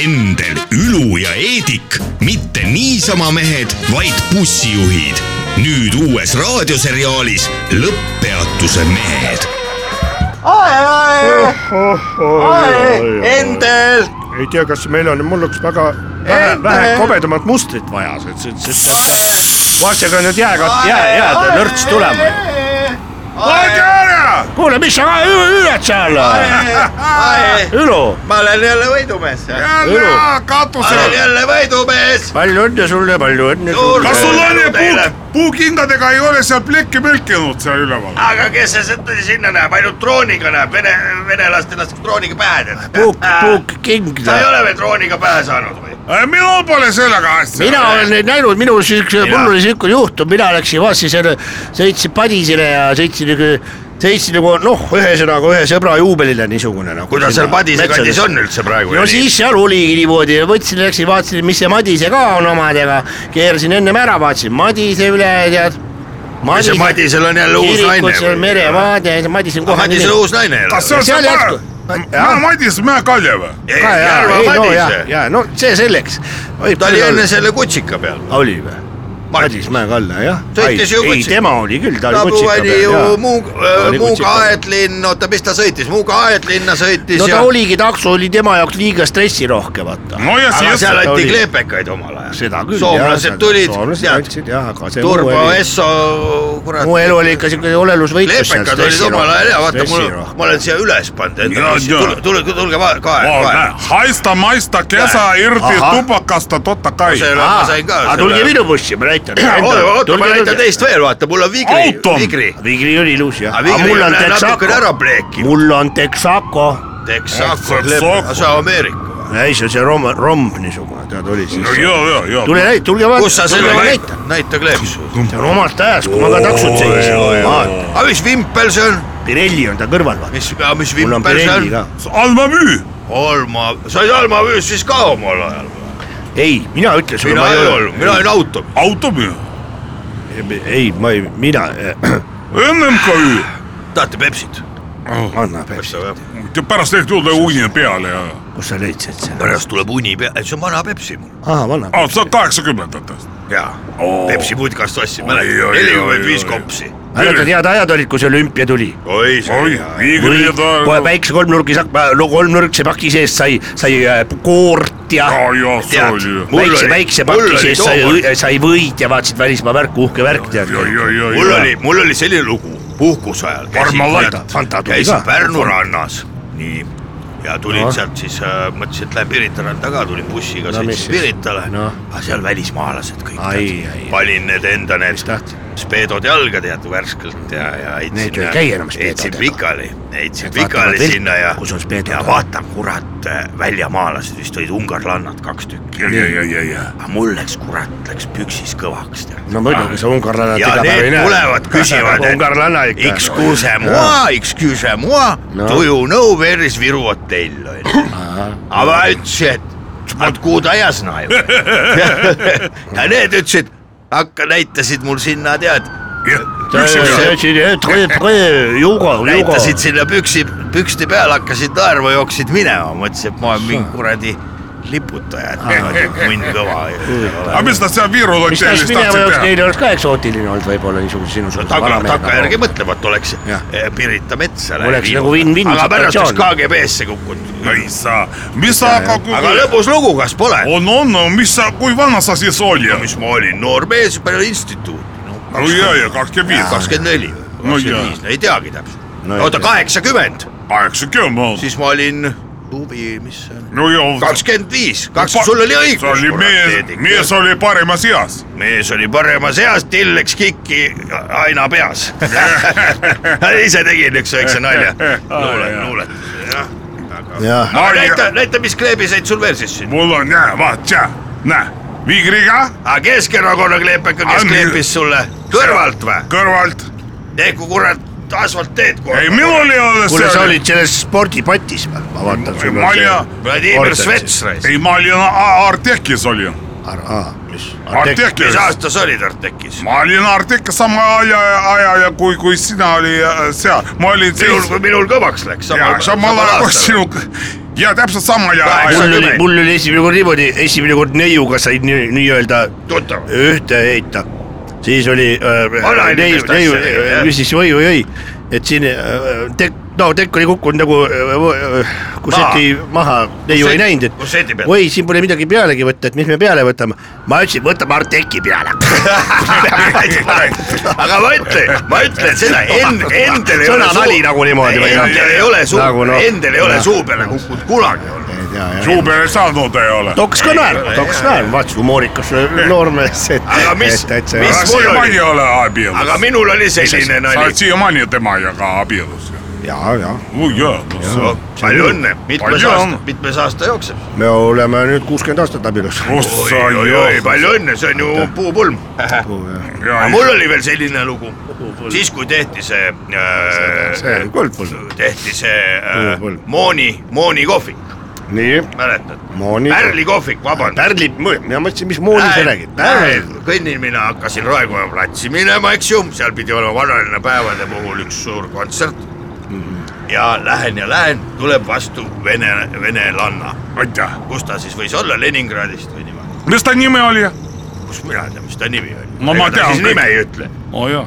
[SPEAKER 4] Endel , Ülu ja Eedik , mitte niisama mehed , vaid bussijuhid . nüüd uues raadioseriaalis Lõpppeatuse mehed
[SPEAKER 9] Endel .
[SPEAKER 3] ei tea , kas meil on , mul oleks väga vähe , vähe kobedamat mustrit vaja , sest , sest , sest vastasega nüüd jääga , jää , jääd ja nörts tulema .
[SPEAKER 2] aega ära ,
[SPEAKER 3] kuule , mis sa hü- hüüad seal ? Ülo ,
[SPEAKER 1] ma olen jälle võidumees .
[SPEAKER 2] ära katusele .
[SPEAKER 1] jälle võidumees .
[SPEAKER 3] palju õnne sulle , palju õnne sulle .
[SPEAKER 2] kas sul on need puuk , puukingadega ei ole seal plekki mürkinud seal üleval ?
[SPEAKER 1] aga kes see seda sinna näeb , ainult drooniga näeb , vene , venelaste laskeb drooniga pähe tead .
[SPEAKER 3] puuk , puuk king .
[SPEAKER 1] sa ei ole veel drooniga pähe saanud või ?
[SPEAKER 2] Äh, minul pole sellega asja .
[SPEAKER 3] mina olen neid näinud , minul siukse , mul oli siuke juhtum , mina läksin vastu selle , sõitsin Padisele ja sõitsin nagu , sõitsin nagu noh , ühesõnaga ühe sõbra juubelile niisugune noh .
[SPEAKER 1] kuidas seal Padise kandis ? on üldse praegu ?
[SPEAKER 3] no siis seal oligi niimoodi , võtsin , läksin , vaatasin , mis see Madise ka on omadega , keerasin ennem ära , vaatasin Madise üle , tead .
[SPEAKER 1] see Madisel on jälle uus naine
[SPEAKER 3] seal
[SPEAKER 1] või?
[SPEAKER 3] meremaade , Madis on kohe .
[SPEAKER 1] Madise uus naine jälle
[SPEAKER 2] kas see on see
[SPEAKER 3] Seal
[SPEAKER 2] ma
[SPEAKER 3] jätku- ,
[SPEAKER 2] ma Madis Mäe-Kaljevä ?
[SPEAKER 1] või ?
[SPEAKER 3] ka ja ,
[SPEAKER 1] Järva
[SPEAKER 3] ei no ja
[SPEAKER 1] Madise ,.
[SPEAKER 3] ja no see selleks .
[SPEAKER 1] ta oli enne selle kutsika peal .
[SPEAKER 3] oli või ? Madis Mäe-Kalla jah .
[SPEAKER 1] Sõitis ju
[SPEAKER 3] ei ,
[SPEAKER 1] kutsika-
[SPEAKER 3] tema oli küll , ta
[SPEAKER 1] ta
[SPEAKER 3] oli kutsika
[SPEAKER 1] pani
[SPEAKER 3] peal
[SPEAKER 1] ju
[SPEAKER 3] jaa.
[SPEAKER 1] Muug- ,
[SPEAKER 3] oli
[SPEAKER 1] Muuga
[SPEAKER 3] kutsika peal.
[SPEAKER 1] aetlinn , oota , mis ta sõitis , Muuga aetlinna sõitis
[SPEAKER 3] no
[SPEAKER 1] ja
[SPEAKER 3] ta . oligi , takso oli tema jaoks liiga stressirohke , vaata .
[SPEAKER 2] no ja
[SPEAKER 1] aga
[SPEAKER 2] siis ,
[SPEAKER 1] seal
[SPEAKER 3] ta
[SPEAKER 1] anti
[SPEAKER 3] oli.
[SPEAKER 1] kleepekaid omal ajal .
[SPEAKER 3] seda küll .
[SPEAKER 1] soomlased tulid,
[SPEAKER 3] soomlased
[SPEAKER 1] tead,
[SPEAKER 3] andsid jah , aga see .
[SPEAKER 1] Turbo Esso , kurat .
[SPEAKER 3] mu elu oli ikka siuke olelusvõitlus .
[SPEAKER 1] leepekad olid omal ajal ja vaata , mul , ma olen siia üles pannud
[SPEAKER 2] Jaa,
[SPEAKER 1] enda asja ,
[SPEAKER 2] jaa.
[SPEAKER 1] tulge , tulge , tulge va- kae , kae .
[SPEAKER 2] haista , maista , kesä irti
[SPEAKER 3] Aha.
[SPEAKER 2] tupakasta totta kai .
[SPEAKER 1] see oli , ma sain ka
[SPEAKER 3] aga tulge . minu bussi , ma näitan .
[SPEAKER 1] oota , ma näitan . teist veel , vaata , mul on Vigri ,
[SPEAKER 2] Auto!
[SPEAKER 1] Vigri .
[SPEAKER 3] Vigri oli ilus jah .
[SPEAKER 1] aga Vigri on natukene ära . pleekinud .
[SPEAKER 3] mul on Texaco ,
[SPEAKER 1] Texaco
[SPEAKER 2] Texaco. ,
[SPEAKER 1] see Ameerika .
[SPEAKER 3] ei see , see rom- , romb niisugune , tead oli siis
[SPEAKER 2] no . joo , joo , joo .
[SPEAKER 3] tule näita , tulge vaata .
[SPEAKER 1] kus sa selle
[SPEAKER 3] näitad ?
[SPEAKER 1] näitad , näita kleeps .
[SPEAKER 3] see on omast ajast , kui ma ka taksot sõitsin .
[SPEAKER 1] aga mis vimpel see on ,
[SPEAKER 3] Pirelli on ta kõrval vaata .
[SPEAKER 1] mis , mis
[SPEAKER 3] mul on
[SPEAKER 1] vimpel see
[SPEAKER 3] Pirelli
[SPEAKER 1] on
[SPEAKER 3] ka ?.
[SPEAKER 2] Alma müü .
[SPEAKER 1] Alma , sa olid Alma müüs siis ka omal ajal või ?
[SPEAKER 3] ei , mina ütlen sulle ,
[SPEAKER 1] mina
[SPEAKER 3] ma
[SPEAKER 1] ei olnud , mina olin auto .
[SPEAKER 2] auto müü .
[SPEAKER 3] ole . ei , ma ei , mina ,
[SPEAKER 2] MMKÜ .
[SPEAKER 1] tahate Pepsit ?
[SPEAKER 3] anna Pepsi ,
[SPEAKER 2] pärast tehti uue uuni peale ja .
[SPEAKER 3] kus sa leidsid selle ?
[SPEAKER 1] pärast tuleb uni pea , see on vana Pepsi mul .
[SPEAKER 3] aa , anna .
[SPEAKER 2] aa , see on kaheksakümnendatest .
[SPEAKER 1] jaa , Pepsi putkast ostsin , mäletan ,
[SPEAKER 2] Oi, oi,
[SPEAKER 1] nelikümmend
[SPEAKER 2] oi,
[SPEAKER 1] viis
[SPEAKER 2] oi.
[SPEAKER 1] kopsi .
[SPEAKER 3] mäletad , head ajad olid , kui see olümpia tuli
[SPEAKER 1] oi , see oli
[SPEAKER 2] oi ,
[SPEAKER 1] hea .
[SPEAKER 3] või
[SPEAKER 2] Igri
[SPEAKER 3] kohe väikse kolmnurgi sakk , kolmnurkse paki sees sai , sai äh, koort ja
[SPEAKER 2] ja , ja see
[SPEAKER 1] Tead,
[SPEAKER 2] oli .
[SPEAKER 1] mul
[SPEAKER 3] väikse ,
[SPEAKER 1] oli-
[SPEAKER 3] väikse
[SPEAKER 1] mul
[SPEAKER 3] paki
[SPEAKER 1] oli
[SPEAKER 3] sees sai
[SPEAKER 1] tookord- ,
[SPEAKER 3] sai võid ja vaatasid välismaa värku , uhke värk tead .
[SPEAKER 1] mul oli , mul oli selline lugu puhkuse ajal .
[SPEAKER 3] Parmalaidat. Fanta tuli
[SPEAKER 1] käisin
[SPEAKER 3] ka.
[SPEAKER 1] Pärnu rannas , nii , ja tulin no. sealt siis äh, , mõtlesin , et lähen Pirita randa ka , tulin bussiga no, ,
[SPEAKER 3] mis
[SPEAKER 1] sõitsin
[SPEAKER 3] siis?
[SPEAKER 1] Piritale no.
[SPEAKER 3] Noh. ,
[SPEAKER 1] aga seal välismaalased kõik
[SPEAKER 3] Ai, ai, ai. .
[SPEAKER 1] panin need enda need
[SPEAKER 3] tahtsid?
[SPEAKER 1] speedod jalga tead värskelt ja , ja
[SPEAKER 3] Need
[SPEAKER 1] heitsin äh,
[SPEAKER 3] ei . käi enam speedodega.
[SPEAKER 1] heitsin pikali , heitsin
[SPEAKER 3] vaatavad
[SPEAKER 1] pikali
[SPEAKER 3] viltu,
[SPEAKER 1] sinna ja ,
[SPEAKER 3] kus on speedod.
[SPEAKER 1] ja vaatan , kurat , väljamaalased vist olid ungarlannad kaks tükki .
[SPEAKER 2] ja , ja , ja , ja .
[SPEAKER 1] aga mul läks , kurat , läks püksis kõvaks tead .
[SPEAKER 3] no muidugi sa
[SPEAKER 1] Ah.
[SPEAKER 3] ungarlannat
[SPEAKER 1] ja
[SPEAKER 3] iga päev ei
[SPEAKER 1] need
[SPEAKER 3] näe .
[SPEAKER 1] tulevad , küsivad ,
[SPEAKER 3] ungarlanna
[SPEAKER 1] et
[SPEAKER 3] ikka .
[SPEAKER 1] excuse moi , excuse moi
[SPEAKER 3] No.
[SPEAKER 1] no. , do you know where is Viru hotell onju . aga ma ütlesin , et откуда я знаю . ja need ütlesid , hakka , näitasid mul sinna tead , näitasid sinna püksi , püksti peale , hakkasid naerma , jooksid minema , mõtlesin , et ma olen
[SPEAKER 3] Hm.
[SPEAKER 1] mingi kuradi liputaja , et niimoodi munn kõva .
[SPEAKER 2] aga mis nad seal Viru
[SPEAKER 3] mis tahes
[SPEAKER 2] hotellis
[SPEAKER 3] mineva
[SPEAKER 2] tahtsid
[SPEAKER 3] jaoks
[SPEAKER 2] teha ?
[SPEAKER 3] neil oleks ka eksootiline olnud võib-olla niisuguse sinusuguse
[SPEAKER 1] taga ,
[SPEAKER 3] vanamehega .
[SPEAKER 1] takkajärgi mõtlevat oleks
[SPEAKER 3] Jah.
[SPEAKER 1] eh, Pirita metsa
[SPEAKER 3] nagu. Oleks nagu win-win
[SPEAKER 1] aga pärast oleks
[SPEAKER 3] situatsioon.
[SPEAKER 1] KGB-sse kukkunud .
[SPEAKER 2] ei saa , mis sa , aga kui
[SPEAKER 1] aga lõbus lugu , kas pole ?
[SPEAKER 2] on , on , mis sa , kui vana sa siis olid ?
[SPEAKER 1] mis ma olin , noor mees , peale instituuti , noh ,
[SPEAKER 2] no ja , ja kakskümmend viis ,
[SPEAKER 1] kakskümmend neli ,
[SPEAKER 2] No jaa.
[SPEAKER 1] kakskümmend viis , ei teagi täpselt
[SPEAKER 3] No
[SPEAKER 1] no,
[SPEAKER 3] ei .
[SPEAKER 1] oota , kaheksakümmend ,
[SPEAKER 2] kaheksakümmend .
[SPEAKER 1] siis ma olin klubi , mis see on ,
[SPEAKER 2] no ja .
[SPEAKER 1] kakskümmend viis , kaks , sul oli õigus .
[SPEAKER 2] see oli mees , mees oli paremas eas .
[SPEAKER 1] mees oli paremas eas , till läks kikki aina peas . ise tegin üks väikse nalja , luulet , luulet , jah .
[SPEAKER 3] jah ,
[SPEAKER 2] Ai,
[SPEAKER 1] näita , näita , mis kleebiseid sul veel siis siin .
[SPEAKER 2] mul on jah , vaata , näe , viigriga
[SPEAKER 1] aga Keskerakonna kleepeka , kes
[SPEAKER 2] Anni-
[SPEAKER 1] kleepis sulle kõrvalt või ?
[SPEAKER 2] kõrvalt .
[SPEAKER 1] tehku kurat asfaltteed korda .
[SPEAKER 2] ei , minul ei ole .
[SPEAKER 3] kuule , sa olid selles spordipatis , ma vaatan sul on see
[SPEAKER 2] Malja ,
[SPEAKER 1] Vladimir
[SPEAKER 3] Ordenid.
[SPEAKER 1] Svets raisk .
[SPEAKER 2] ei ma olin A- Artekis olin .
[SPEAKER 3] ar- aa, mis Artek-
[SPEAKER 2] Artekis
[SPEAKER 1] mis . aasta sa olid Artekis ?
[SPEAKER 2] ma olin Artekis sama aja , aja ja kui , kui sina oli äh, seal , ma olin
[SPEAKER 1] minul ,
[SPEAKER 2] siis
[SPEAKER 1] kui . minul kõvaks läks .
[SPEAKER 2] ja samal ajal kui . sinuga ja täpselt sama aja ,
[SPEAKER 1] Kaheksa-
[SPEAKER 2] aja
[SPEAKER 3] mul oli , mul oli esimene kord niimoodi , esimene kord neiuga sai nii , nii-öelda
[SPEAKER 1] tuttav .
[SPEAKER 3] ühte heita . siis oli
[SPEAKER 1] Vana
[SPEAKER 3] äh,
[SPEAKER 1] oli
[SPEAKER 3] neiu ,
[SPEAKER 1] niisugust
[SPEAKER 3] neiu
[SPEAKER 1] asja, jah. ,
[SPEAKER 3] mis siis või , või , või , et siin äh, tekk , no tekk oli kukkunud nagu äh, äh, kusseti maha , neiu
[SPEAKER 1] Kusseti-
[SPEAKER 3] ei näinud , et
[SPEAKER 1] kusseti peal.
[SPEAKER 3] oi , siin pole midagi pealegi võtta , et mis me peale võtame . ma ütlesin , võtame Arteki peale .
[SPEAKER 1] aga ma ütlen , ma ütlen seda , End- , Endel ei ole
[SPEAKER 3] Sõnanali nagu niimoodi või
[SPEAKER 1] või
[SPEAKER 3] noh.
[SPEAKER 1] noh . Endel ei ole suu
[SPEAKER 3] Nagu noh. ,
[SPEAKER 1] Endel ei ole suu peale kukkunud kunagi olnud .
[SPEAKER 2] suu peale saanud ei ole .
[SPEAKER 3] toks ka naerma , toks naerma , vaatasin humoorikas noormees , et .
[SPEAKER 1] Aga mis- mis
[SPEAKER 2] ma
[SPEAKER 1] mul oli-
[SPEAKER 2] siiamaani ei ole abielus .
[SPEAKER 1] aga minul oli selline
[SPEAKER 2] sa oled
[SPEAKER 1] nali .
[SPEAKER 2] siiamaani temaga abielus .
[SPEAKER 11] ja , ja
[SPEAKER 2] oi jaa ,
[SPEAKER 1] Oh, palju õnne , mitmes
[SPEAKER 2] Palju
[SPEAKER 1] aasta
[SPEAKER 2] õnne. ,
[SPEAKER 1] mitmes aasta jookseb .
[SPEAKER 11] me oleme nüüd kuuskümmend aastat abielus .
[SPEAKER 2] ossa
[SPEAKER 1] oi-oi ,
[SPEAKER 2] joo .
[SPEAKER 1] palju õnne , see on ju puupulm . aga mul oli veel selline lugu , siis kui tehti see äh, ,
[SPEAKER 11] see on kuldpulm .
[SPEAKER 1] tehti see äh,
[SPEAKER 11] Puupulm.
[SPEAKER 1] Mooni , Mooni kohvik ,
[SPEAKER 11] nii ,
[SPEAKER 1] mäletad ?
[SPEAKER 11] Mooni .
[SPEAKER 1] Pärli kohvik , vabandust .
[SPEAKER 11] Pärli , mina mõtlesin , mis mooni sa räägid . Pärl ,
[SPEAKER 1] kõnnin mina , hakkasin Raekoja platsi minema , eks ju , seal pidi olema vanalinna päevade puhul üks suur kontsert mm .
[SPEAKER 11] Mhm.
[SPEAKER 1] -hmm. ja lähen ja lähen , tuleb vastu vene , venelanna ,
[SPEAKER 2] aitäh ,
[SPEAKER 1] kus ta siis võis olla , Leningradist või niimoodi ,
[SPEAKER 2] mis ta nimi oli ?
[SPEAKER 1] kus mina tean , mis ta nimi oli .
[SPEAKER 2] No ma
[SPEAKER 1] ta
[SPEAKER 2] tean
[SPEAKER 1] siis
[SPEAKER 2] kõik.
[SPEAKER 1] nime ei ütle
[SPEAKER 2] oo jaa .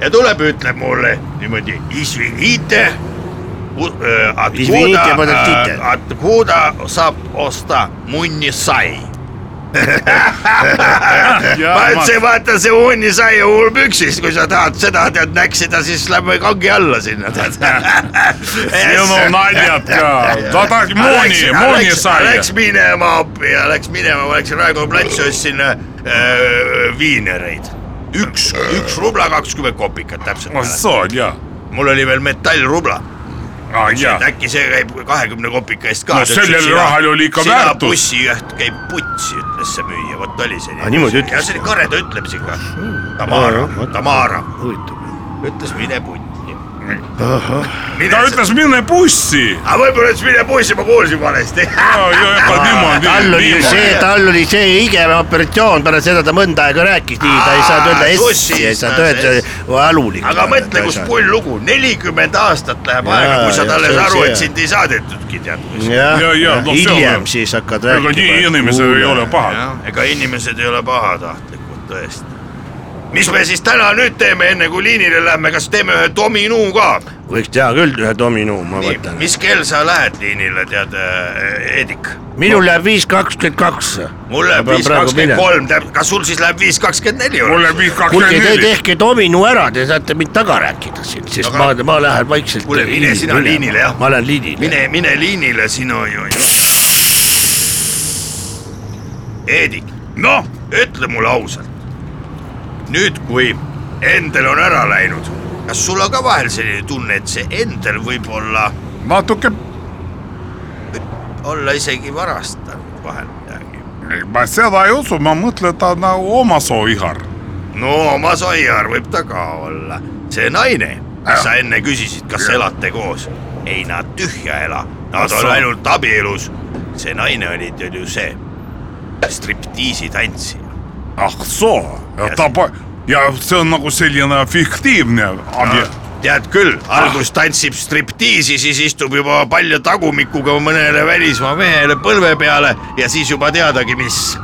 [SPEAKER 1] ja tuleb , ütleb mulle niimoodi , isvinite . äh,
[SPEAKER 3] Извините, подождите.
[SPEAKER 1] Откуда saab osta munnisai ?
[SPEAKER 11] Eh,
[SPEAKER 1] ma ütlesin , vaata see munnisai on mul püksis , kui sa tahad seda tead näksida , siis lähme kangi alla sinna tead .
[SPEAKER 2] Sinu naljad ka , ta tahtis mooni , mooni sai .
[SPEAKER 1] Läks minema appi ja läks minema , ma läksin Raekoja platsi , ostsin äh, viinereid . üks , üks rubla kakskümmend kopikat täpselt .
[SPEAKER 2] ossa jaa .
[SPEAKER 1] mul oli veel metallrubla ,
[SPEAKER 2] aa jaa .
[SPEAKER 1] äkki see käib kahekümne kopika eest ka .
[SPEAKER 2] No sellel rahal oli ikka väärtus.
[SPEAKER 1] bussijuht käib putsi , ütles see müüja , vot oli see .
[SPEAKER 3] Aa, Ah, niimoodi ütles?
[SPEAKER 1] ja see oli kareda ütlemisega . Tamara , Tamara ütles mine putti .
[SPEAKER 2] ta . ütles mine bussi .
[SPEAKER 1] aga Ah, võib-olla ütles mine bussi , ma kuulsin valesti .
[SPEAKER 3] tal oli ju see , tal oli see igeme operatsioon , pärast seda ta mõnda aega rääkis nii , ta ei saanud öelda
[SPEAKER 1] Aa,
[SPEAKER 3] essi ,
[SPEAKER 1] kussis
[SPEAKER 3] ei saanud
[SPEAKER 1] ta
[SPEAKER 3] öelda
[SPEAKER 1] siis.
[SPEAKER 3] valulik .
[SPEAKER 1] aga mõtle , kus pull lugu , nelikümmend aastat läheb
[SPEAKER 3] Jaa,
[SPEAKER 1] aega , kui sa
[SPEAKER 3] jah,
[SPEAKER 1] talle
[SPEAKER 3] see on
[SPEAKER 1] aru ,
[SPEAKER 3] see.
[SPEAKER 1] et sind ei saadetudki tead .
[SPEAKER 2] Ja,
[SPEAKER 3] jah ,
[SPEAKER 2] ja,
[SPEAKER 3] ja
[SPEAKER 2] no see on
[SPEAKER 3] hiljem
[SPEAKER 2] ju-
[SPEAKER 3] siis hakkad
[SPEAKER 2] ega nii
[SPEAKER 3] rääkima .
[SPEAKER 2] inimesed ei ole pahad .
[SPEAKER 1] ega inimesed ei ole pahatahtlikud tõesti . mis me siis täna nüüd teeme , enne kui liinile lähme , kas teeme ühe dominoo ka ?
[SPEAKER 3] võiks teha küll ühe domino , ma võtan .
[SPEAKER 1] mis kell sa lähed liinile , tead , Eedik ?
[SPEAKER 3] minul läheb viis kakskümmend kaks .
[SPEAKER 1] mul läheb
[SPEAKER 3] Ma pean
[SPEAKER 1] viis
[SPEAKER 3] praegu
[SPEAKER 1] kakskümmend
[SPEAKER 3] minema.
[SPEAKER 1] kolm , kas sul siis läheb viis kakskümmend neli ?
[SPEAKER 2] mul läheb viis
[SPEAKER 3] kuulge ,
[SPEAKER 2] kakskümmend
[SPEAKER 3] te
[SPEAKER 2] neli .
[SPEAKER 3] tehke domino ära , te saate mind taga rääkida siin , sest
[SPEAKER 1] Aga-
[SPEAKER 3] ma , ma lähen vaikselt .
[SPEAKER 1] Kuule, mine sina liinile, jah.
[SPEAKER 3] ma lähen liinile .
[SPEAKER 1] mine , mine liinile , sina ju . Eedik ,
[SPEAKER 2] noh ,
[SPEAKER 1] noh, ütle mulle ausalt . nüüd , kui Endel on ära läinud . kas sul on ka vahel selline tunne , et see Endel võib-olla ,
[SPEAKER 2] natuke ,
[SPEAKER 1] olla isegi varastanud vahel midagi ?
[SPEAKER 2] ma seda ei usu , ma mõtlen , ta on nagu oma soovihar .
[SPEAKER 1] no oma Saiar võib ta ka olla . see naine , kes sa enne küsisid , kas elate koos , ei nad tühja ela , nad on ainult abielus . see naine oli teil ju see striptiisi tantsija .
[SPEAKER 2] ah soo , ta pa- , ja see on nagu selline fiktiivne abi- ,
[SPEAKER 1] tead küll , algus tantsib striptiisi , siis istub juba palja tagumikuga mõnele välismaa mehele põlve peale ja siis juba teadagi , mis .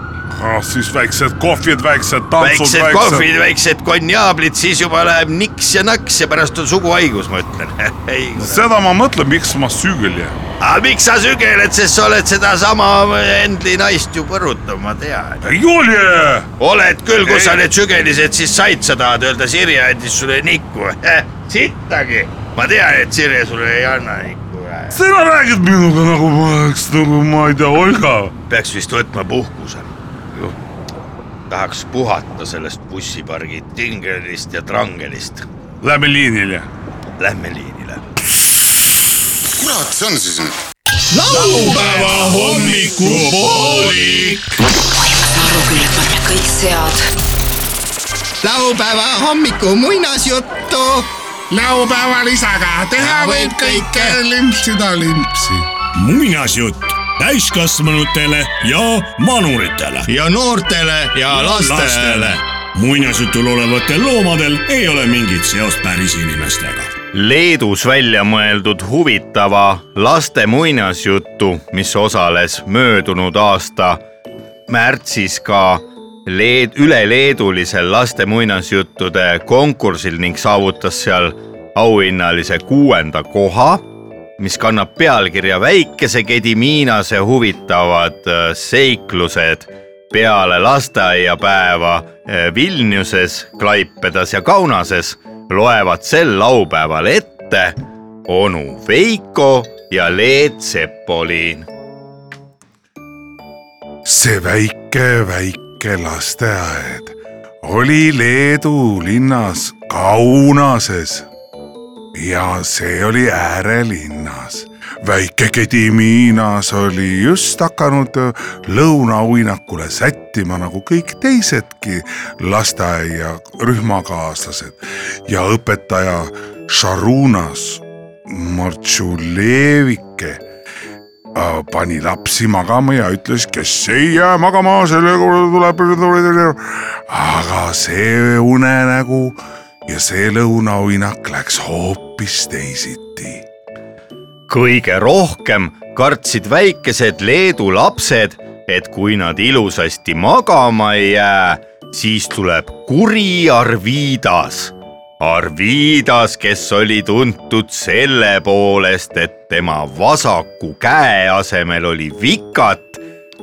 [SPEAKER 2] ah, siis väiksed kohvid , väiksed tantsud ,
[SPEAKER 1] väiksed kohvid , väiksed konjaablid , siis juba läheb niks ja naks ja pärast on suguhaigus , ma ütlen . ei ,
[SPEAKER 2] seda ma mõtlen , miks ma süülen .
[SPEAKER 1] aga miks sa sügeled , sest sa oled sedasama Endli naist ju põrutanud , ma tean .
[SPEAKER 2] Julie ,
[SPEAKER 1] oled küll , kus sa
[SPEAKER 2] Ei.
[SPEAKER 1] need sügelised siis said , sa tahad öelda , Sirje andis sulle nikku . sittagi , ma tean , et Sirje sulle ei anna nikku
[SPEAKER 2] sina räägid minuga nagu ma oleks nagu ma ei tea , Olga .
[SPEAKER 1] peaks vist võtma puhkuse . tahaks puhata sellest bussipargi tingelist ja trangelist .
[SPEAKER 2] Lähme liinile .
[SPEAKER 1] Lähme liinile .
[SPEAKER 8] kurat , see on siis nüüd ?
[SPEAKER 4] laupäeva hommikupoolik .
[SPEAKER 12] Narukülle panna kõik sead .
[SPEAKER 4] laupäeva hommiku muinasjuttu .
[SPEAKER 8] laupäeval isaga teha
[SPEAKER 4] võib kõike.
[SPEAKER 8] limpsida limpsi .
[SPEAKER 5] muinasjutt täiskasvanutele ja manuritele .
[SPEAKER 4] ja noortele ja lastele .
[SPEAKER 5] muinasjutul olevatel loomadel ei ole mingit seost päris inimestega .
[SPEAKER 1] Leedus välja mõeldud huvitava laste muinasjutu , mis osales möödunud aasta märtsis ka Leed- , üleleedulisel laste muinasjuttude konkursil ning saavutas seal auhinnalise kuuenda koha , mis kannab pealkirja Väikese kedi Miinase huvitavad äh, seiklused peale lasteaiapäeva äh, Vilniuses , Klaipedas ja Kaunases loevad sel laupäeval ette onu Veiko ja Leet Sepolin .
[SPEAKER 2] see väike , väike lasteaed oli Leedu linnas Kaunases . ja see oli äärelinnas . väike Kedimiinas oli just hakanud lõunauinakule sättima nagu kõik teisedki lasteaia rühmakaaslased ja õpetaja Šarunas Martšulevike Äh, pani lapsi magama ja ütles , kes ei jää magama , selle tuleb , aga see unenägu ja see lõunauinak läks hoopis teisiti .
[SPEAKER 1] kõige rohkem kartsid väikesed Leedu lapsed , et kui nad ilusasti magama ei jää , siis tuleb kuri Arvidas . Arvidas , kes oli tuntud selle poolest , et tema vasaku käe asemel oli vikat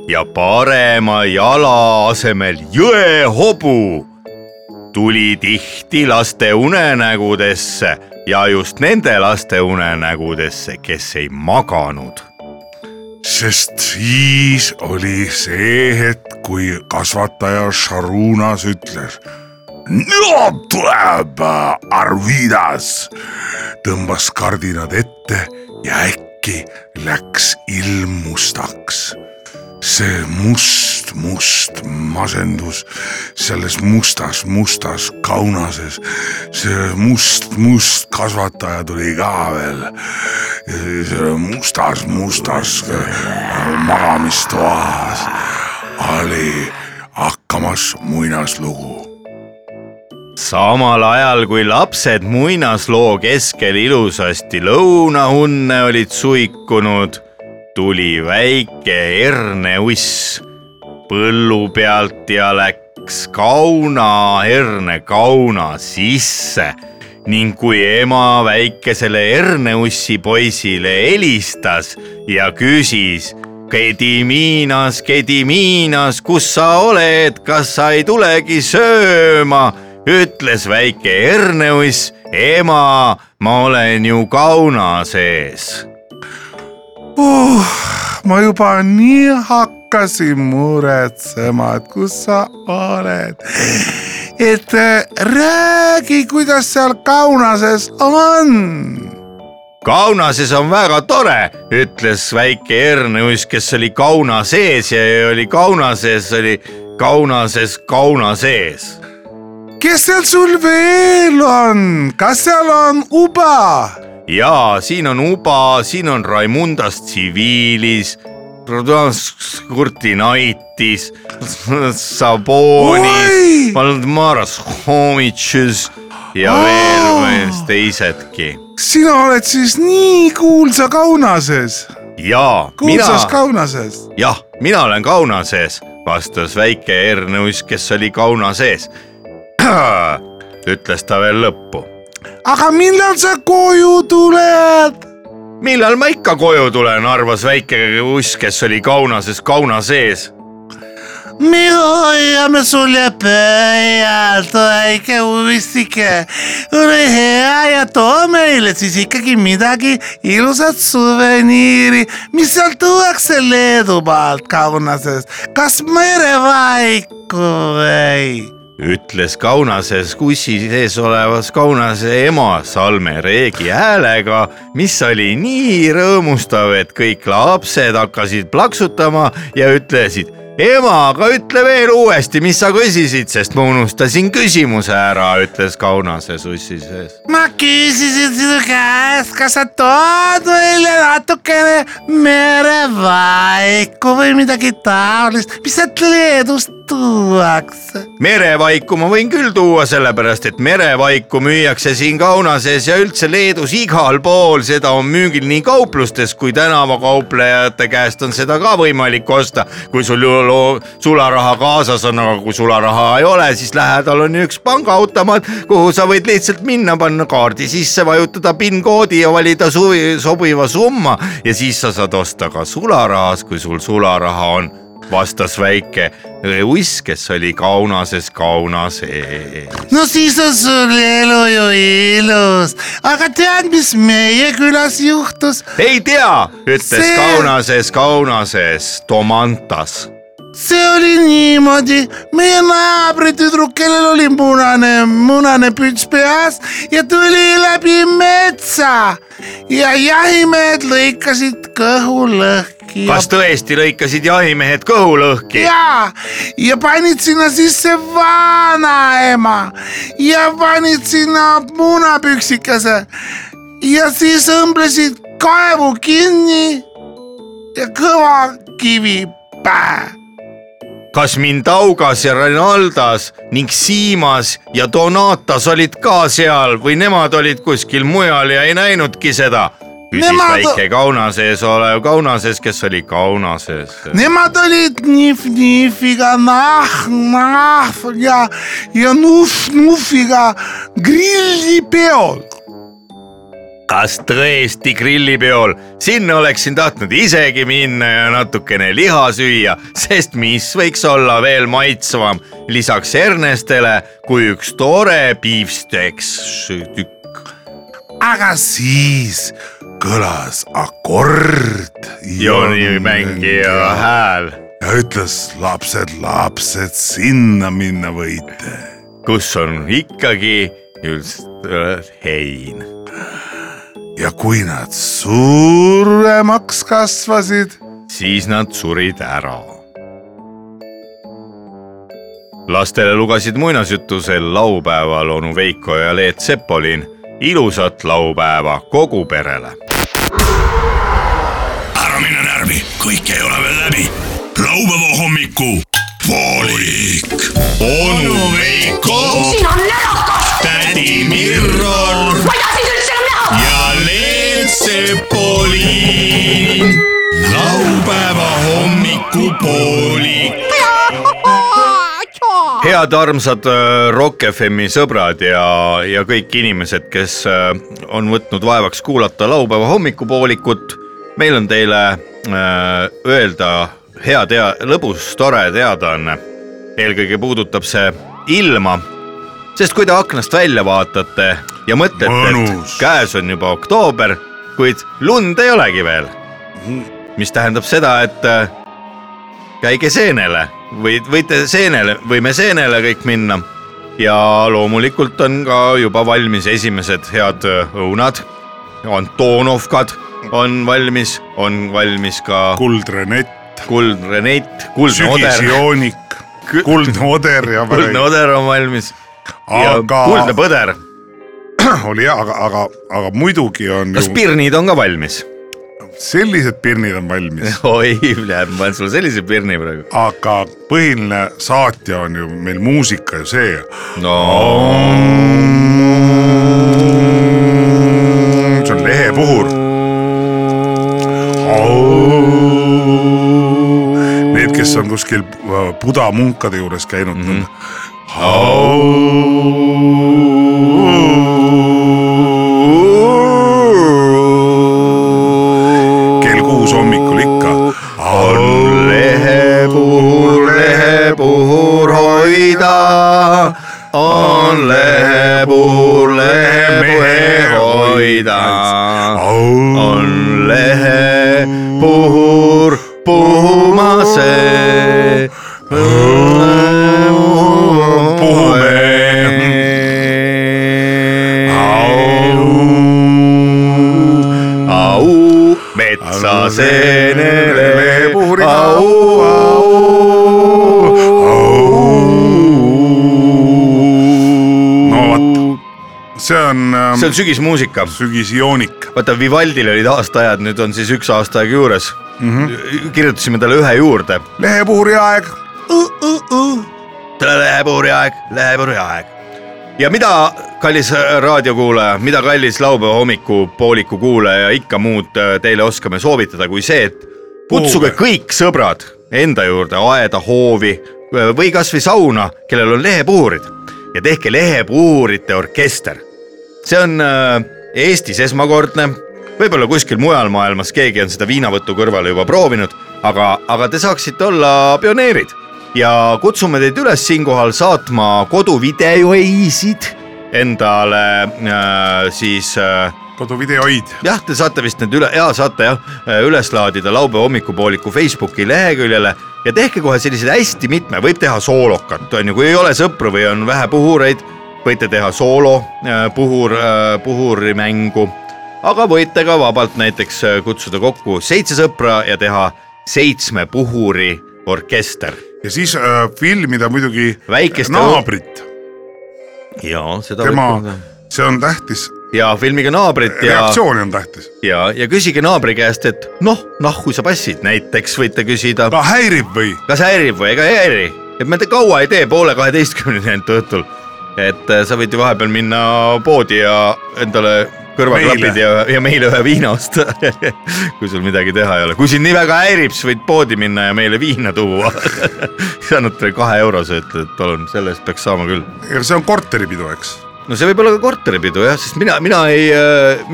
[SPEAKER 1] ja parema jala asemel jõehobu tuli tihti laste unenägudesse ja just nende laste unenägudesse , kes ei maganud .
[SPEAKER 2] sest siis oli see hetk , kui kasvataja Šarunas ütles . no tuleb äh, Arvidas , tõmbas kardinad ette ja äkki läks ilm mustaks see must , must masendus selles mustas , mustas kaunases . see must , must kasvataja tuli ka veel . mustas , mustas magamistoas oli hakkamas muinaslugu
[SPEAKER 1] samal ajal kui lapsed muinasloo keskel ilusasti lõunaunne olid suikunud , tuli väike herneuss põllu pealt ja läks kauna herne kauna sisse ning kui ema väikesele herneussi poisile helistas ja küsis , Kedimiinas , Kedimiinas , kus sa oled , kas sa ei tulegi sööma , ütles väike herneuss , ema , ma olen ju kauna sees
[SPEAKER 2] uh, . ma juba nii hakkasin muretsema , et kus sa oled . et äh, räägi , kuidas seal Kaunases on .
[SPEAKER 1] Kaunases on väga tore , ütles väike Ernõus , kes oli kauna sees ja oli kauna sees , oli kaunases kauna sees .
[SPEAKER 2] kes seal sul veel on , kas seal on uba ?
[SPEAKER 1] ja siin on Uba , siin on Raimundas Tsiviilis , Kurtinaitis ,
[SPEAKER 2] Oi!
[SPEAKER 1] Sabonis , Valdmaras Homitšis ja veel
[SPEAKER 2] Aa!
[SPEAKER 1] veel teisedki
[SPEAKER 2] sina oled siis nii kuulsa Kaunases ,
[SPEAKER 1] ja
[SPEAKER 2] kuulsas
[SPEAKER 1] mina
[SPEAKER 2] Mina... , Kaunases .
[SPEAKER 1] jah , mina olen kauna sees , vastas väike Ernõus , kes oli kauna sees . ütles ta veel lõppu .
[SPEAKER 2] aga millal sa koju tuled ?
[SPEAKER 1] millal ma ikka koju tulen , arvas väike uss , kes oli kaunases kauna sees .
[SPEAKER 7] me hoiame sulle pöialt , väike uistike . ole hea ja too meile siis ikkagi midagi ilusat suveniiri , mis seal tuuakse
[SPEAKER 2] e
[SPEAKER 7] Leedu maalt Kaunasest . kas merevaiku või ?
[SPEAKER 1] ütles kaunases ussi sees olevas kaunase ema Salme Reegi häälega , mis oli nii rõõmustav , et kõik lapsed hakkasid plaksutama ja ütlesid ema , aga ütle veel uuesti , mis sa küsisid , sest ma unustasin küsimuse ära , ütles kaunases ussi sees .
[SPEAKER 7] ma küsisin sinu käest , kas sa tood meile natukene merevaiku või midagi taolist , mis sealt Leedust tuuakse .
[SPEAKER 1] merevaiku ma võin küll tuua , sellepärast et merevaiku müüakse siin Kaunases ja üldse Leedus igal pool , seda on müügil nii kauplustes kui tänavakauplejate käest on seda ka võimalik osta . kui sul ju loo- sularaha kaasas on , aga kui sularaha ei ole , siis lähedal on ju üks pangaautomaat , kuhu sa võid lihtsalt minna , panna kaardi sisse , vajutada PIN-koodi ja valida suvi, sobiva summa ja siis sa saad osta ka sularahas , kui sul sularaha on vastas väike uiss , kes oli kaunases kauna sees .
[SPEAKER 7] no siis on sul elu ju ilus , aga tead , mis meie külas juhtus ?
[SPEAKER 1] ei tea , ütles
[SPEAKER 7] See-
[SPEAKER 1] See... kaunases kaunases Tomantas .
[SPEAKER 7] see oli niimoodi , meie naabritüdruk , kellel oli punane , munane püts peas ja tuli läbi metsa ja jahimehed lõikasid kõhu lõhki ja
[SPEAKER 1] kas tõesti lõikasid jahimehed kõhu lõhki ?
[SPEAKER 7] ja , ja panid sinna sisse vanaema ja panid sinna munapüksikese ja siis õmblesid kaevu kinni ja kõva kivi pähe .
[SPEAKER 1] kas Mindaugas ja Renaldas ning Siimas ja Donatas olid ka seal või nemad olid kuskil mujal ja ei näinudki seda ? küsis
[SPEAKER 7] Nemad-
[SPEAKER 1] Nemad... väike kaunases olev kaunases , kes oli kaunases .
[SPEAKER 7] Nemad olid nihv-nihviga nahk-nahv ja , ja nuhv-nuhviga grillipeol .
[SPEAKER 1] kas tõesti grillipeol , sinna oleksin tahtnud isegi minna ja natukene liha süüa , sest mis võiks olla veel maitsvam lisaks hernestele kui üks tore piifsteks tükk .
[SPEAKER 2] aga siis kõlas akord .
[SPEAKER 1] Joni mängija hääl ,
[SPEAKER 2] ja ütles lapsed , lapsed , sinna minna võite .
[SPEAKER 1] kus on ikkagi just äh, hein .
[SPEAKER 2] ja kui nad suuremaks kasvasid ,
[SPEAKER 1] siis nad surid ära . lastele lugesid muinasjutusel laupäeval onu Veiko ja Leet Sepolin ilusat laupäeva kogu perele .
[SPEAKER 5] ära mine närvi , kõik ei ole veel läbi . laupäeva hommiku poolik .
[SPEAKER 4] onu Veiko ,
[SPEAKER 12] siin on närakas ,
[SPEAKER 4] tädi Mirro
[SPEAKER 12] ma ei taha sind üldse enam näha .
[SPEAKER 4] ja Leet Sepolin . laupäeva hommikupoolik .
[SPEAKER 1] head armsad äh, Rock FM-i sõbrad ja , ja kõik inimesed , kes äh, on võtnud vaevaks kuulata laupäeva hommikupoolikut . meil on teile äh, öelda hea tea- , lõbus , tore teadaanne . eelkõige puudutab see ilma , sest kui te aknast välja vaatate ja mõtlete , et
[SPEAKER 2] Mõnus.
[SPEAKER 1] käes on juba oktoober , kuid lund ei olegi veel . mis tähendab seda , et äh, käige seenele või võite seenele , võime seenele kõik minna ja loomulikult on ka juba valmis esimesed head äh, õunad . Antonovkad on valmis , on valmis ka
[SPEAKER 2] kuldrenett ,
[SPEAKER 1] kuldne neit , kuldne oder ,
[SPEAKER 2] sügisjoonik , kuldne oder ja
[SPEAKER 1] kuldne oder on valmis ja
[SPEAKER 2] aga
[SPEAKER 1] kuldne põder .
[SPEAKER 2] oli jah , aga , aga , aga muidugi on
[SPEAKER 1] kas
[SPEAKER 2] ju
[SPEAKER 1] pirnid on ka valmis ?
[SPEAKER 2] sellised pirnid on valmis ,
[SPEAKER 1] oi , läheb , ma andsin sulle sellise pirni praegu .
[SPEAKER 2] aga põhiline saatja on ju meil muusika ju see see on lehepuhur . Need , kes on kuskil äh, buda munkade juures käinud mm . -hmm. kell kuus hommikul ikka .
[SPEAKER 1] lehepuhur , lehepuhur hoida , on lehepuhur , lehepuhe hoida , on lehepuhur puhuma see . au metsa seenele , au , au .
[SPEAKER 2] no vot , see
[SPEAKER 1] see
[SPEAKER 2] on äh,
[SPEAKER 1] on sügismuusika ,
[SPEAKER 2] sügisjoonik ,
[SPEAKER 1] vaata Vivaldil olid aastaajad , nüüd on siis üks aasta aeg juures mm . -hmm. kirjutasime talle ühe juurde .
[SPEAKER 2] lehepuhuri aeg
[SPEAKER 1] tere , läheburi aeg , läheburi aeg . ja mida , kallis raadiokuulaja , mida kallis laupäeva hommikupooliku kuulaja ikka muud äh, teile oskame soovitada , kui see , et kutsuge kõik sõbrad enda juurde aeda , hoovi äh, või kasvõi sauna , kellel on lehepuhurid ja tehke lehepuhurite orkester . see on äh, Eestis esmakordne , võib-olla kuskil mujal maailmas keegi on seda viinavõtu kõrvale juba proovinud , aga , aga te saaksite olla pioneerid ja kutsume teid üles siinkohal saatma koduvideoisid endale äh, siis äh,
[SPEAKER 2] koduvideoid .
[SPEAKER 1] jah , te saate vist need üle , jaa saate jah , üles laadida laupäeva hommikupooliku Facebooki leheküljele ja tehke kohe selliseid hästi mitme , võib teha soolokat , on ju , kui ei ole sõpru või on vähe puhureid , võite teha soolo , puhur , puhurimängu , aga võite ka vabalt näiteks äh, kutsuda kokku seitse sõpra ja teha seitsme puhuri orkester .
[SPEAKER 2] ja siis äh, filmida muidugi
[SPEAKER 1] Väikeste-
[SPEAKER 2] naabrit ,
[SPEAKER 1] jaa , seda
[SPEAKER 2] tema
[SPEAKER 1] võib teha. ,
[SPEAKER 2] see on tähtis ,
[SPEAKER 1] ja filmige naabrit ja
[SPEAKER 2] reaktsioon on tähtis .
[SPEAKER 1] ja , ja küsige naabri käest , et noh , nahku sa passid , näiteks võite küsida .
[SPEAKER 2] ta häirib või ?
[SPEAKER 1] kas häirib või ega ei häiri , et me te- kaua ei tee , poole kaheteistkümneni ainult õhtul . et äh, sa võid ju vahepeal minna poodi ja endale kõrvaklapid
[SPEAKER 2] Meile.
[SPEAKER 1] ja , ja meile ühe viina osta . kui sul midagi teha ei ole , kui sind nii väga häirib , siis võid poodi minna ja meile viina tuua . sa annad talle kahe eurose , ütled , et palun , selle eest peaks saama küll .
[SPEAKER 2] ja see on korteripidu , eks .
[SPEAKER 1] no see võib olla ka korteripidu jah , sest mina , mina ei ,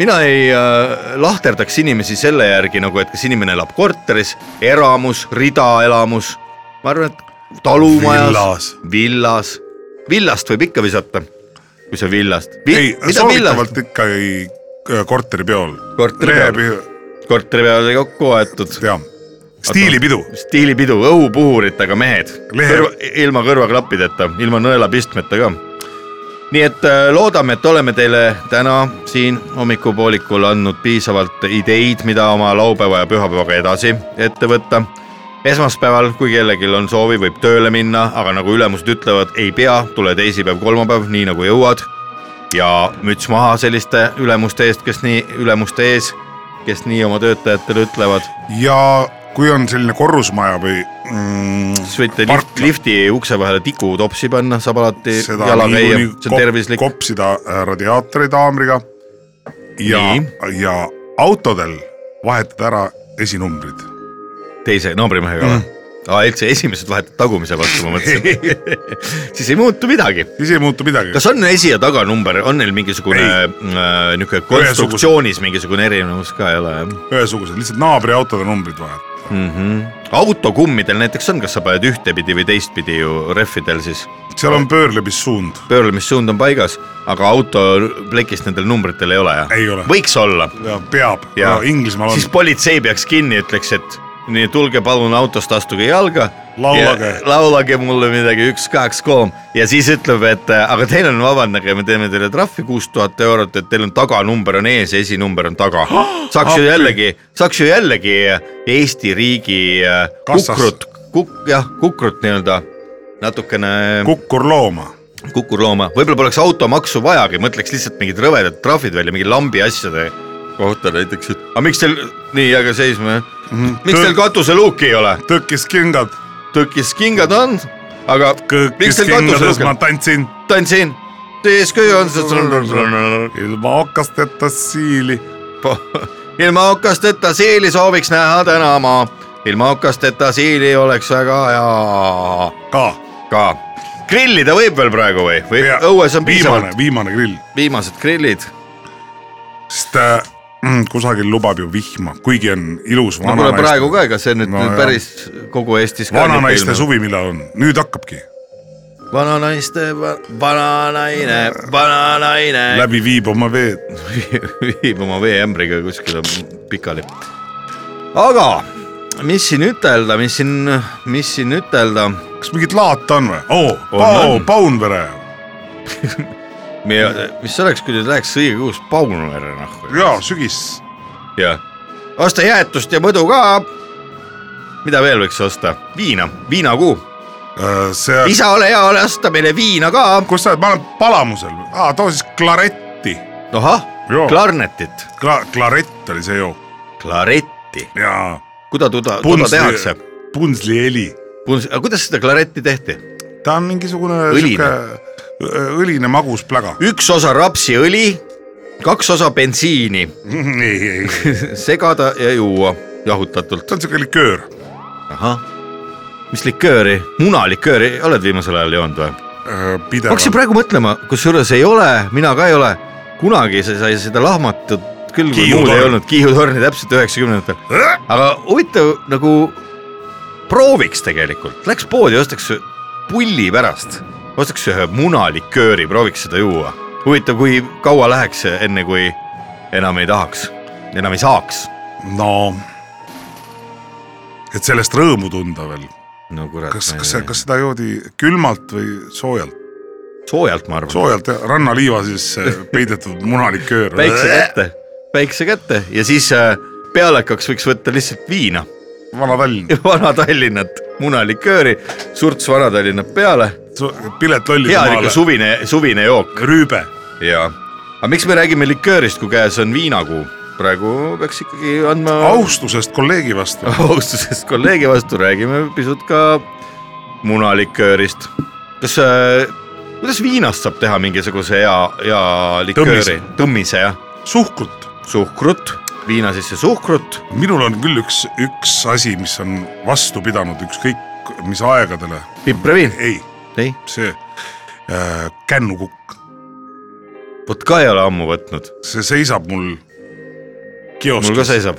[SPEAKER 1] mina ei äh, lahterdaks inimesi selle järgi nagu , et kas inimene elab korteris , eramus , ridaelamus , ma arvan , et talumajas
[SPEAKER 2] Villas. ,
[SPEAKER 1] villas , villast võib ikka visata , kui sa villast
[SPEAKER 2] ei , soovitavalt ikkagi äh, korteripeol .
[SPEAKER 1] Korteripeol. korteri peal oli kokku aetud ,
[SPEAKER 2] jah , stiilipidu .
[SPEAKER 1] stiilipidu , õhupuhuritega mehed ,
[SPEAKER 2] Lehe-
[SPEAKER 1] kõrva, ilma kõrvaklappideta , ilma nõelapistmeta ka . nii et äh, loodame , et oleme teile täna siin hommikupoolikul andnud piisavalt ideid , mida oma laupäeva ja pühapäevaga edasi ette võtta . esmaspäeval , kui kellelgi on soovi , võib tööle minna , aga nagu ülemused ütlevad , ei pea , tule teisipäev , kolmapäev , nii nagu jõuad ja müts maha selliste ülemuste eest , kes nii ülemuste ees , kes nii oma töötajatele ütlevad .
[SPEAKER 2] ja kui on selline korrusmaja või mm,
[SPEAKER 1] siis võite lift,
[SPEAKER 2] parkla ,
[SPEAKER 1] lifti ukse vahele tikutopsi panna , saab alati
[SPEAKER 2] seda
[SPEAKER 1] jala käia ,
[SPEAKER 2] niikuinii
[SPEAKER 1] see on
[SPEAKER 2] kop,
[SPEAKER 1] tervislik .
[SPEAKER 2] kopsida äh, radiaatori taamriga . ja
[SPEAKER 1] Nii. ,
[SPEAKER 2] ja autodel vahetada ära esinumbrid .
[SPEAKER 1] teise naabrimehega või mm. ? aa , üldse esimesed vahetad tagumise vastu , ma mõtlesin . siis ei muutu midagi .
[SPEAKER 2] siis ei muutu midagi .
[SPEAKER 1] kas on esi- ja taganumber , on neil mingisugune
[SPEAKER 2] Ei.
[SPEAKER 1] äh, niisugune konstruktsioonis mingisugune erinevus ka ei ole jah ?
[SPEAKER 2] ühesugused , lihtsalt naabriautode numbrid vahel .
[SPEAKER 1] autokummidel näiteks on , kas sa paned ühtepidi või teistpidi ju rehvidel siis
[SPEAKER 2] seal on pöörlemissuund .
[SPEAKER 1] pöörlemissuund on paigas , aga auto plekis nendel numbritel ei ole jah ?
[SPEAKER 2] Ei ole.
[SPEAKER 1] võiks olla
[SPEAKER 2] ja peab ,
[SPEAKER 1] ja
[SPEAKER 2] Inglismaal
[SPEAKER 1] siis
[SPEAKER 2] on .
[SPEAKER 1] politsei peaks kinni , ütleks , et nii tulge palun autost , astuge jalga .
[SPEAKER 2] Laulage.
[SPEAKER 1] laulage mulle midagi , üks , kaks , kolm ja siis ütleb , et äh, aga teil on , vabandage , me teeme teile trahvi kuus tuhat eurot , et teil on taganumber on ees ja esinumber on taga . saaks ju jällegi , saaks ju jällegi äh, Eesti riigi äh,
[SPEAKER 2] Kassas.
[SPEAKER 1] kukrut , kuk- , jah , kukrut nii-öelda natukene äh,
[SPEAKER 2] kukkurlooma .
[SPEAKER 1] kukurlooma , võib-olla poleks automaksu vajagi , mõtleks lihtsalt mingid rõvedad trahvid välja , mingi lambi asjade kohta näiteks , et aga miks teil nii jääge seisma ,
[SPEAKER 2] Mhm.
[SPEAKER 1] miks teil katuseluuki ei ole ,
[SPEAKER 2] tõkkis kingad ,
[SPEAKER 1] tõkis kingad on , aga miks
[SPEAKER 2] kõõkis
[SPEAKER 1] teil
[SPEAKER 2] kingades
[SPEAKER 1] katuseluuki
[SPEAKER 2] ma
[SPEAKER 1] on ,
[SPEAKER 2] tantsin
[SPEAKER 1] tantsin , eeskuju on see ,
[SPEAKER 2] ilma okasteta siili .
[SPEAKER 1] ilma okasteta siili sooviks näha täna ma , ilma okasteta siili oleks väga hea
[SPEAKER 2] ka .
[SPEAKER 1] ka , grillida võib veel praegu või , või õues on
[SPEAKER 2] viimane
[SPEAKER 1] piisavalt ,,
[SPEAKER 2] viimane grill ,
[SPEAKER 1] viimased grillid
[SPEAKER 2] sest äh, mm, kusagil lubab ju vihma , kuigi on ilus
[SPEAKER 1] no kuule praegu ka , ega see nüüd
[SPEAKER 2] No
[SPEAKER 1] no,
[SPEAKER 2] jah.
[SPEAKER 1] päris kogu Eestis ka
[SPEAKER 2] vananaiste . suvi , millal on , nüüd hakkabki
[SPEAKER 1] vananaiste , vananaine , vananaine
[SPEAKER 2] läbi viib oma veed .
[SPEAKER 1] viib oma veeämbriga kuskile pikali . aga mis siin ütelda , mis siin , mis siin ütelda ,
[SPEAKER 2] kas mingit laata on või ? oo ,
[SPEAKER 1] On,
[SPEAKER 2] Pao
[SPEAKER 1] on. ,
[SPEAKER 2] Paunvere .
[SPEAKER 1] mis oleks , kui nüüd läheks õigekuus Paunvere nahku
[SPEAKER 2] jaa , sügis .
[SPEAKER 1] ja noh, osta jäätust ja mõdu ka . mida veel võiks osta , viina , viinakuu ,
[SPEAKER 2] Äh, see ,
[SPEAKER 1] isa ole hea , ole osta meile viina ka .
[SPEAKER 2] kus sa oled , ma olen Palamusel , aa too siis klaretti .
[SPEAKER 1] ahah
[SPEAKER 2] Joo. ,
[SPEAKER 1] klarnetit ,
[SPEAKER 2] Kla- , klarett oli see jook
[SPEAKER 1] klaretti
[SPEAKER 2] jaa .
[SPEAKER 1] kuda tuda , tuda tehakse ?.
[SPEAKER 2] punsli heli .
[SPEAKER 1] aga kuidas seda klaretti tehti ?
[SPEAKER 2] ta on mingisugune
[SPEAKER 1] Õline.
[SPEAKER 2] sihuke õline magus pläga .
[SPEAKER 1] üks osa rapsiõli , kaks osa bensiini ,
[SPEAKER 2] ei , ei , ei ,
[SPEAKER 1] segada ja juua jahutatult .
[SPEAKER 2] ta on sihuke liköör .
[SPEAKER 1] ahah , mis likööri , munalikööri oled viimasel ajal joonud või ?
[SPEAKER 2] Äh,
[SPEAKER 1] ma hakkasin
[SPEAKER 2] pidevalt .
[SPEAKER 1] praegu mõtlema , kusjuures ei ole , mina ka ei ole , kunagi see sai seda lahmatut küll , kui
[SPEAKER 2] Kiiu
[SPEAKER 1] muud ei
[SPEAKER 2] torn.
[SPEAKER 1] olnud , Kiiu torni täpselt üheksakümnendatel .
[SPEAKER 2] Äh!
[SPEAKER 1] aga huvitav nagu prooviks tegelikult , läks poodi , ostaks pulli pärast , ostaks ühe munalikööri , prooviks seda juua . huvitav , kui kaua läheks , enne kui enam ei tahaks , enam ei saaks .
[SPEAKER 2] no , et sellest rõõmu tunda veel .
[SPEAKER 1] no kurat ,
[SPEAKER 2] kas , kas , kas seda joodi külmalt või soojalt ?
[SPEAKER 1] soojalt ma arvan ,
[SPEAKER 2] soojalt jah , rannaliiva sisse peidetud munaliköör .
[SPEAKER 1] päikse kätte , päikse kätte ja siis äh, pealekaks võiks võtta lihtsalt viina ,
[SPEAKER 2] Vana-Tallinn ,
[SPEAKER 1] Vana-Tallinnat , munalikööri , surts Vana-Tallinna peale ,
[SPEAKER 2] pilet lolli
[SPEAKER 1] hea niisugune . suvine , suvine jook .
[SPEAKER 2] rüübe ,
[SPEAKER 1] jaa , aga miks me räägime liköörist , kui käes on viinakuu ? praegu peaks ikkagi andma
[SPEAKER 2] austusest kolleegi vastu .
[SPEAKER 1] austusest kolleegi vastu , räägime pisut ka munaliköörist . kas , kuidas viinast saab teha mingisuguse hea , hea likööri
[SPEAKER 2] Tõmmise. ?
[SPEAKER 1] tõmmise jah ,
[SPEAKER 2] suhkrut
[SPEAKER 1] suhkrut , viina sisse suhkrut ,
[SPEAKER 2] minul on küll üks , üks asi , mis on vastu pidanud ükskõik mis aegadele .
[SPEAKER 1] pipraviin ,
[SPEAKER 2] ei ,
[SPEAKER 1] ei ,
[SPEAKER 2] see äh, kännukukk ,
[SPEAKER 1] vot ka ei ole ammu võtnud ,
[SPEAKER 2] see seisab mul
[SPEAKER 1] mul ka
[SPEAKER 2] kioskis .
[SPEAKER 1] seisab .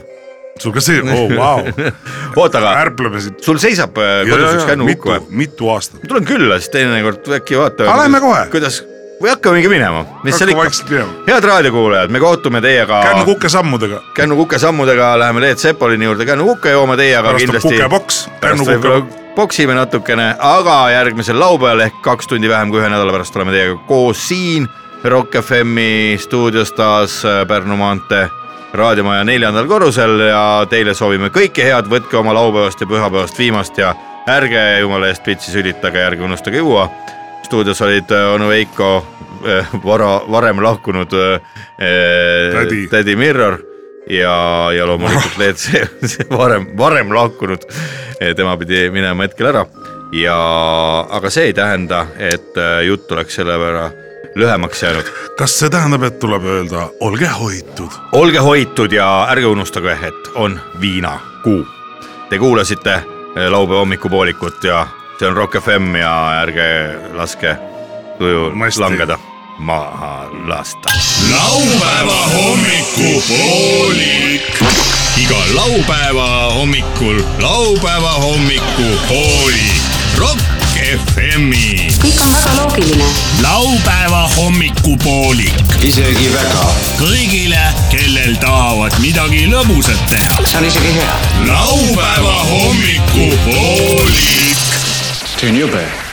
[SPEAKER 2] sul ka see , oo vau ,
[SPEAKER 1] oota , aga
[SPEAKER 2] ärpleme siit .
[SPEAKER 1] sul seisab äh, kodus üks kännukukk
[SPEAKER 2] mitu
[SPEAKER 1] või ?,
[SPEAKER 2] mitu aastat .
[SPEAKER 1] ma tulen külla siis teinekord äkki vaatame .
[SPEAKER 2] Aga lähme kohe.
[SPEAKER 1] kuidas või hakkamegi minema , mis seal
[SPEAKER 2] hakka
[SPEAKER 1] ikka .
[SPEAKER 2] vaikselt minema .
[SPEAKER 1] head raadiokuulajad , me kohtume teiega
[SPEAKER 2] kännukukke sammudega ,
[SPEAKER 1] Kännu Kuke sammudega , läheme Leet Sepolini juurde Kännu Kuke jooma teiega
[SPEAKER 2] pärast on
[SPEAKER 1] kindlasti .
[SPEAKER 2] kukepoks ,
[SPEAKER 1] pärast
[SPEAKER 2] kännukukke
[SPEAKER 1] võib-olla , poksime natukene , aga järgmisel laupäeval ehk kaks tundi vähem kui ühe nädala pärast oleme teiega koos siin Rock FM-i stuudios taas äh, Pärnu maantee raadiomaja neljandal korrusel ja teile soovime kõike head , võtke oma laupäevast ja pühapäevast viimast ja ärge jumala eest pitsi sülitage , ärge unustage juua . stuudios olid äh, onu Veiko , vara , varem lahkunud äh,
[SPEAKER 2] Tädi.
[SPEAKER 1] tädi Mirror ja , ja loomulikult Leet , see , see varem , varem lahkunud , tema pidi minema hetkel ära ja , aga see ei tähenda , et äh, jutt oleks selle võrra lühemaks jäänud .
[SPEAKER 2] kas see tähendab , et tuleb öelda olge hoitud ?
[SPEAKER 1] olge hoitud ja ärge unustage , et on viinakuu . Te kuulasite äh, laupäeva hommikupoolikut ja see on Rock FM ja ärge laske tuju
[SPEAKER 2] Masti.
[SPEAKER 1] langeda , maha lasta .
[SPEAKER 4] laupäeva hommikupoolik . iga laupäeva hommikul laupäeva hommikupoolik . Rock
[SPEAKER 13] FM-i .
[SPEAKER 5] kõik on väga loogiline .
[SPEAKER 4] laupäeva hommikupoolik
[SPEAKER 6] isegi väga .
[SPEAKER 4] kõigile , kellel tahavad midagi lõbusat teha .
[SPEAKER 6] see on isegi hea .
[SPEAKER 4] laupäeva hommikupoolik .
[SPEAKER 6] see on jube